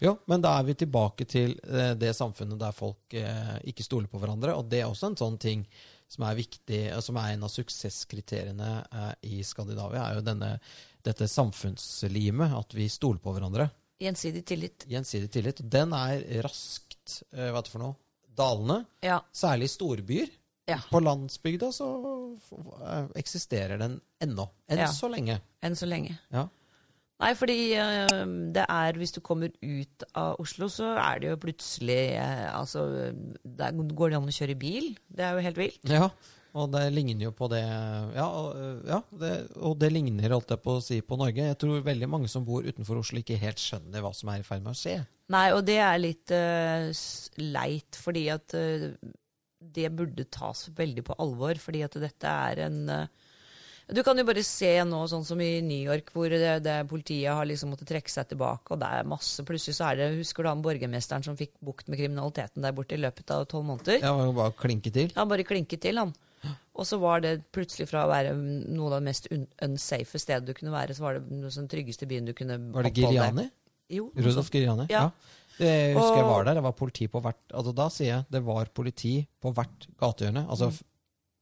Speaker 1: Jo, men da er vi tilbake til eh, det samfunnet der folk eh, ikke stoler på hverandre. Og det er også en sånn ting som er viktig, eh, som er en av suksesskriteriene eh, i Skandinavia, er jo denne, dette samfunnslimet, at vi stoler på hverandre.
Speaker 2: Gjensidig tillit.
Speaker 1: Gjensidig tillit. og Den er raskt eh, hva er det for noe, dalende.
Speaker 2: Ja.
Speaker 1: Særlig i storbyer.
Speaker 2: Ja.
Speaker 1: På landsbygda så eh, eksisterer den ennå. Enn
Speaker 2: Ja.
Speaker 1: så lenge.
Speaker 2: Enn så lenge.
Speaker 1: Ja.
Speaker 2: Nei, fordi eh, det er Hvis du kommer ut av Oslo, så er det jo plutselig eh, Altså, der går det an å kjøre bil. Det er jo helt vilt.
Speaker 1: Ja, og det ligner jo på det Ja, og- ja det, og det ligner, holdt jeg på å si, på Norge. Jeg tror veldig mange som bor utenfor Oslo, ikke helt skjønner hva som er i ferd med å skje.
Speaker 2: Nei, og det er litt eh, s- leit, fordi at eh, det burde tas veldig på alvor, fordi at dette er en eh, Du kan jo bare se nå, sånn som i New York, hvor det, det politiet har liksom måttet trekke seg tilbake, og det er masse Plutselig så er det Husker du han borgermesteren som fikk bukt med kriminaliteten der borte i løpet av tolv måneder?
Speaker 1: Jeg må jo bare klinke til.
Speaker 2: Han bare klinket til, han. Og så var det plutselig fra å være noe av det mest un unsafe stedet du kunne være, så var det noe sånn tryggeste byen du kunne
Speaker 1: Var det
Speaker 2: oppholde deg.
Speaker 1: Giriani?
Speaker 2: Jo, noe
Speaker 1: Rudolf Giriani?
Speaker 2: Ja.
Speaker 1: Det husker jeg
Speaker 2: Og-
Speaker 1: var der. Det var politi på hvert altså Da sier jeg det var politi på hvert gatehjørne. Altså f-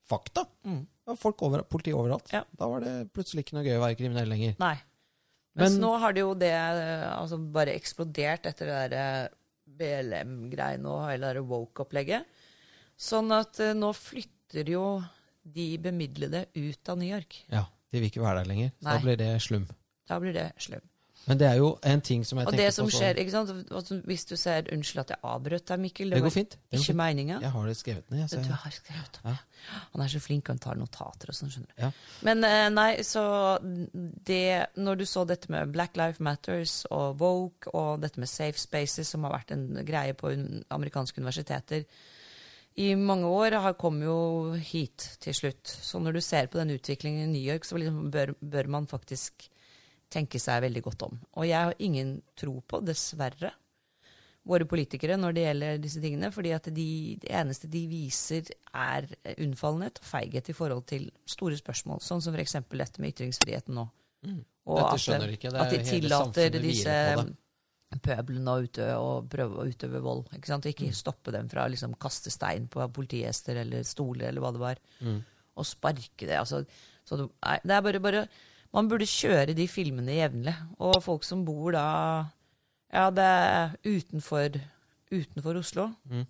Speaker 1: fakta.
Speaker 2: Mm.
Speaker 1: Det var folk over, politi overalt.
Speaker 2: Ja.
Speaker 1: Da var det plutselig ikke noe gøy å være kriminell lenger.
Speaker 2: Nei. Mens
Speaker 1: Men-
Speaker 2: nå har det jo det eh, altså, bare eksplodert etter det der eh, BLM-greiene og hele det der woke-opplegget. Sånn at eh, nå flytter jo de bemidlede ut av New York.
Speaker 1: Ja, De vil ikke være der lenger. Så da
Speaker 2: Nei.
Speaker 1: blir det slum.
Speaker 2: Da blir det slum.
Speaker 1: Men det er jo en ting som jeg
Speaker 2: Og
Speaker 1: tenker
Speaker 2: det som
Speaker 1: på sånn- så-
Speaker 2: skjer, ikke sant? Altså, Hvis du ser Unnskyld at jeg avbrøt deg, Mikkel.
Speaker 1: Det
Speaker 2: var
Speaker 1: går fint. Det går
Speaker 2: ikke
Speaker 1: fint.
Speaker 2: meninga.
Speaker 1: Jeg har det skrevet ned. jeg, så
Speaker 2: Du
Speaker 1: jeg-
Speaker 2: har skrevet om det. Han er så flink, han tar notater og sånn, skjønner du.
Speaker 1: Ja.
Speaker 2: Men eh, nei, så det Når du så dette med Black Life Matters og Woke og dette med safe spaces, som har vært en greie på un amerikanske universiteter i mange år, har kom jo hit til slutt. Så når du ser på den utviklingen i New York, så liksom bør, bør man faktisk tenke seg veldig godt om. Og jeg har ingen tro på, dessverre, våre politikere når det gjelder disse tingene. fordi at de, det eneste de viser, er eh, unnfallenhet og feighet i forhold til store spørsmål. Sånn som f.eks. dette med ytringsfriheten nå. Og
Speaker 1: Mm. Dette
Speaker 2: at,
Speaker 1: skjønner de ikke. Det
Speaker 2: at
Speaker 1: er
Speaker 2: de
Speaker 1: hele
Speaker 2: tillater
Speaker 1: samfunnet
Speaker 2: disse
Speaker 1: hviler på det.
Speaker 2: pøblene å utøve, og prøve å utøve vold. Ikke sant? Og
Speaker 1: Mm.
Speaker 2: ikke stoppe dem fra å liksom, kaste stein på politihester eller stoler eller hva det var. Og sparke det. Altså, så du, nei, det er bare, bare Man burde kjøre de filmene jevnlig. Og folk som bor da Ja, det er utenfor, utenfor Oslo.
Speaker 1: Mm.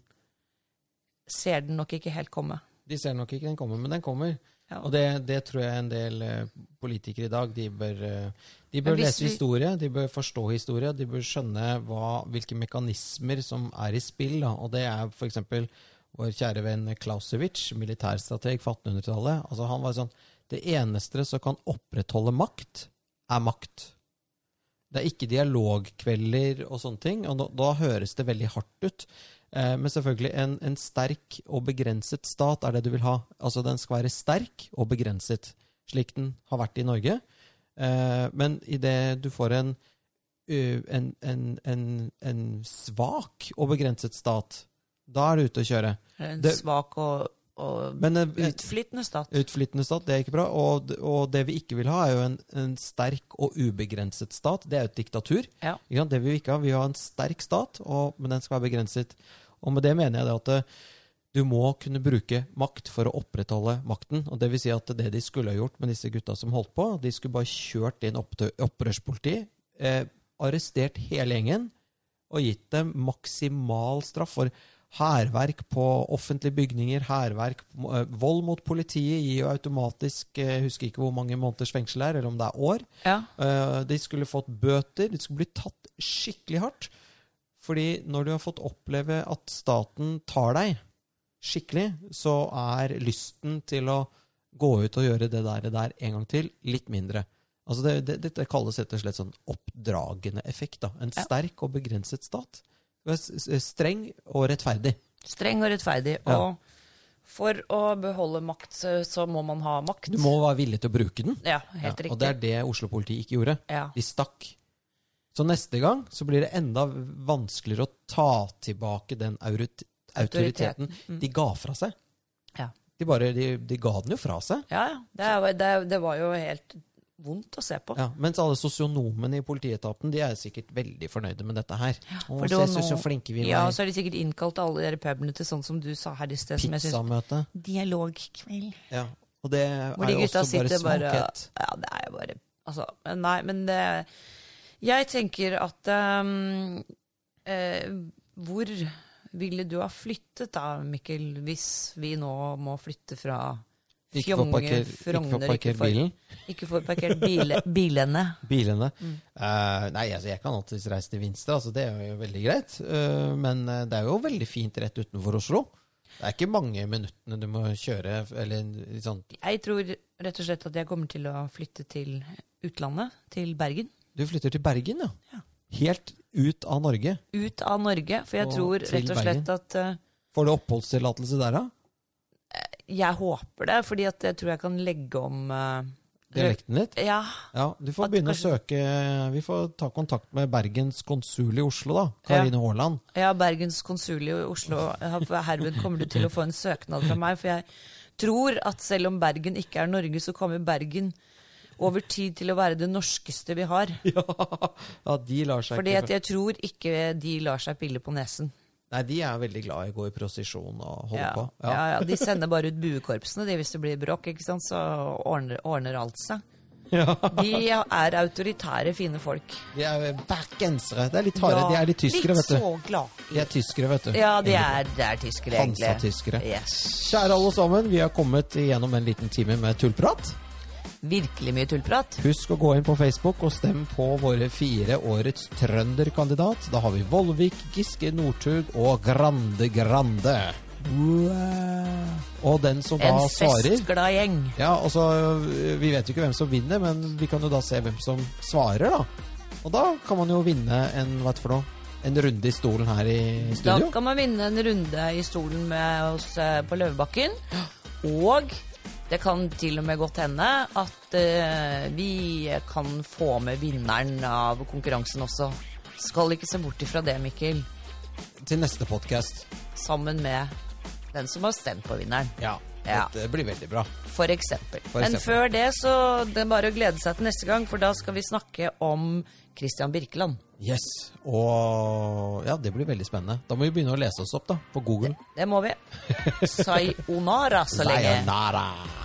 Speaker 2: Ser den nok ikke helt komme.
Speaker 1: De ser nok ikke den komme, men den kommer.
Speaker 2: Ja.
Speaker 1: Og det, det tror jeg en del eh, politikere i dag De bør, eh, de
Speaker 2: Men
Speaker 1: bør
Speaker 2: hvis
Speaker 1: lese
Speaker 2: vi-
Speaker 1: historie, de bør forstå historie, de bør skjønne hva, hvilke mekanismer som er i spill. Da. Og det er f.eks. vår kjære venn Clausewitz, militærstrateg fra 1800-tallet. Altså, han var sånn Det eneste som kan opprettholde makt, er makt. Det er ikke dialogkvelder og sånne ting, og da, da høres det veldig hardt ut. Eh, men selvfølgelig, en, en sterk og begrenset stat er det du vil ha. Altså, den skal være sterk og begrenset, slik den har vært i Norge. Eh, men idet du får en, ø, en, en, en, en svak og begrenset stat, da er du ute å kjøre.
Speaker 2: En
Speaker 1: Det-
Speaker 2: svak og, og
Speaker 1: Men eh,
Speaker 2: utflyttende stat.
Speaker 1: Utflyttende stat, det er ikke bra. Og, og det vi ikke vil ha, er jo en, en sterk og ubegrenset stat. Det er jo et diktatur.
Speaker 2: Ja.
Speaker 1: Ikke sant? Det vil vi ikke ha. Vi vil ha en sterk stat, og, men den skal være begrenset. Og med det mener jeg det at eh, du må kunne bruke makt for å opprettholde makten. Og det vil si at det de skulle ha gjort med disse gutta som holdt på, de skulle bare kjørt inn opptø- opprørspoliti, eh, arrestert hele gjengen og gitt dem maksimal straff for hærverk på offentlige bygninger, hærverk, eh, vold mot politiet gir jo automatisk eh, Jeg husker ikke hvor mange måneders fengsel det er, eller om det er år.
Speaker 2: Ja.
Speaker 1: Eh, De skulle fått bøter, de skulle bli tatt skikkelig hardt. Fordi når du har fått oppleve at staten tar deg skikkelig, så er lysten til å gå ut og gjøre det der, det der en gang til litt mindre. Altså det, det, dette kalles rett og slett sånn oppdragende effekt. da. En
Speaker 2: Ja.
Speaker 1: sterk og begrenset stat. S- s- Streng og rettferdig.
Speaker 2: Streng og rettferdig.
Speaker 1: Ja.
Speaker 2: Og for å beholde makt, så- så må man ha makt.
Speaker 1: Du må være villig til å bruke den.
Speaker 2: Ja, helt
Speaker 1: Ja,
Speaker 2: riktig.
Speaker 1: og det er det Oslo-politiet ikke gjorde.
Speaker 2: ja.
Speaker 1: De stakk. Så neste gang så blir det enda vanskeligere å ta tilbake den aurit- autoriteten de ga fra seg.
Speaker 2: Ja.
Speaker 1: De, bare, de, de ga den jo fra seg.
Speaker 2: ja, ja. Det, er- det, er- det var jo helt vondt å se på.
Speaker 1: Ja, mens alle sosionomene i politietaten de er sikkert veldig fornøyde med dette her. Å,
Speaker 2: for det
Speaker 1: se
Speaker 2: var
Speaker 1: så,
Speaker 2: noe-
Speaker 1: så flinke vi
Speaker 2: Ja, og
Speaker 1: var.
Speaker 2: så har de sikkert innkalt alle de der pubene til sånn som du sa her i sted. som jeg synes-
Speaker 1: Pizzamøte.
Speaker 2: Dialogkveld.
Speaker 1: Ja. Og det
Speaker 2: Hvor
Speaker 1: er
Speaker 2: de
Speaker 1: jo
Speaker 2: gutta
Speaker 1: også bare
Speaker 2: sitter bare
Speaker 1: smakhet.
Speaker 2: Ja, det er jo bare Altså, men nei, men det Jeg tenker at ehm, eh, Hvor ville du ha flyttet da, Mikkel, hvis vi nå må flytte fra
Speaker 1: Ikke få
Speaker 2: Fjonge,
Speaker 1: parker, ikke få
Speaker 2: Frogner,
Speaker 1: parkert bilen.
Speaker 2: Ikke få parkert bile, bilene.
Speaker 1: Bilene.
Speaker 2: Mm.
Speaker 1: Eh, nei, altså, jeg kan alltids reise til Vinstra, altså, det er jo veldig greit. Eh, men eh, det er jo veldig fint rett utenfor Oslo. Det er ikke mange minuttene du må kjøre, eller litt sånn
Speaker 2: Jeg tror rett og slett at jeg kommer til å flytte til utlandet, til Bergen.
Speaker 1: Du flytter til Bergen, ja.
Speaker 2: Ja.
Speaker 1: Helt ut av Norge.
Speaker 2: Ut av Norge, for jeg
Speaker 1: Og
Speaker 2: tror
Speaker 1: til
Speaker 2: rett og slett at eh,
Speaker 1: Får du oppholdstillatelse der, da?
Speaker 2: Jeg håper det, fordi at jeg tror jeg kan legge om eh,
Speaker 1: Dialekten ditt?
Speaker 2: Ja,
Speaker 1: Ja, du får
Speaker 2: At
Speaker 1: begynne å søke eh, Vi får ta kontakt med Bergens konsul i Oslo, da. Karine Haaland.
Speaker 2: ja Bergens konsul i Oslo. har- Herved kommer du til å få en søknad fra meg. For jeg tror at selv om Bergen ikke er Norge, så kommer Bergen over tid til å være det norskeste vi har.
Speaker 1: Ja. ja, de lar seg
Speaker 2: Fordi
Speaker 1: ikke
Speaker 2: at jeg tror ikke de lar seg pille på nesen.
Speaker 1: Nei, de er veldig glad i å gå i prosesjon og holde
Speaker 2: Ja,
Speaker 1: på.
Speaker 2: ja, ja, De sender bare ut buekorpsene de, hvis det blir bråk, ikke sant? så ordner, ordner alt seg. De er autoritære, fine folk.
Speaker 1: De er bergensere. Det er litt harde. De er litt tyskere, vet
Speaker 2: Litt
Speaker 1: du.
Speaker 2: så glad.
Speaker 1: De er tyskere, vet du.
Speaker 2: Ja, de er, det er tyskere, egentlig.
Speaker 1: Hansa-tyskere.
Speaker 2: Yes.
Speaker 1: Kjære alle sammen, vi har kommet gjennom en liten time med tullprat.
Speaker 2: Virkelig mye tullprat.
Speaker 1: Husk å gå inn på Facebook og stem på våre fire årets trønderkandidat. Da har vi Vollvik, Giske, Northug og Grande Grande. Og den som da
Speaker 2: En
Speaker 1: svarer
Speaker 2: festglad gjeng.
Speaker 1: Ja, altså, Vi vet jo ikke hvem som vinner, men vi kan jo da se hvem som svarer, da. Og da kan man jo vinne en hva er det for noe? En runde i stolen her i
Speaker 2: Da
Speaker 1: studio.
Speaker 2: kan man vinne en runde i stolen med oss eh, på Løvebakken. Og det kan til og med godt hende at eh, vi kan få med vinneren av konkurransen også. Skal ikke se bort ifra det, Mikkel.
Speaker 1: Til neste podkast.
Speaker 2: Sammen med den som har stemt på vinneren.
Speaker 1: Ja.
Speaker 2: Ja.
Speaker 1: Dette blir veldig bra.
Speaker 2: For eksempel.
Speaker 1: For
Speaker 2: Men
Speaker 1: eksempel.
Speaker 2: før det så det er bare å glede seg til neste gang, for da skal vi snakke om Christian Birkeland.
Speaker 1: Yes. Og ja, det blir veldig spennende. Da må vi begynne å lese oss opp, da. På Google.
Speaker 2: Det må vi. Sayonara så lenge.
Speaker 1: Sayonara.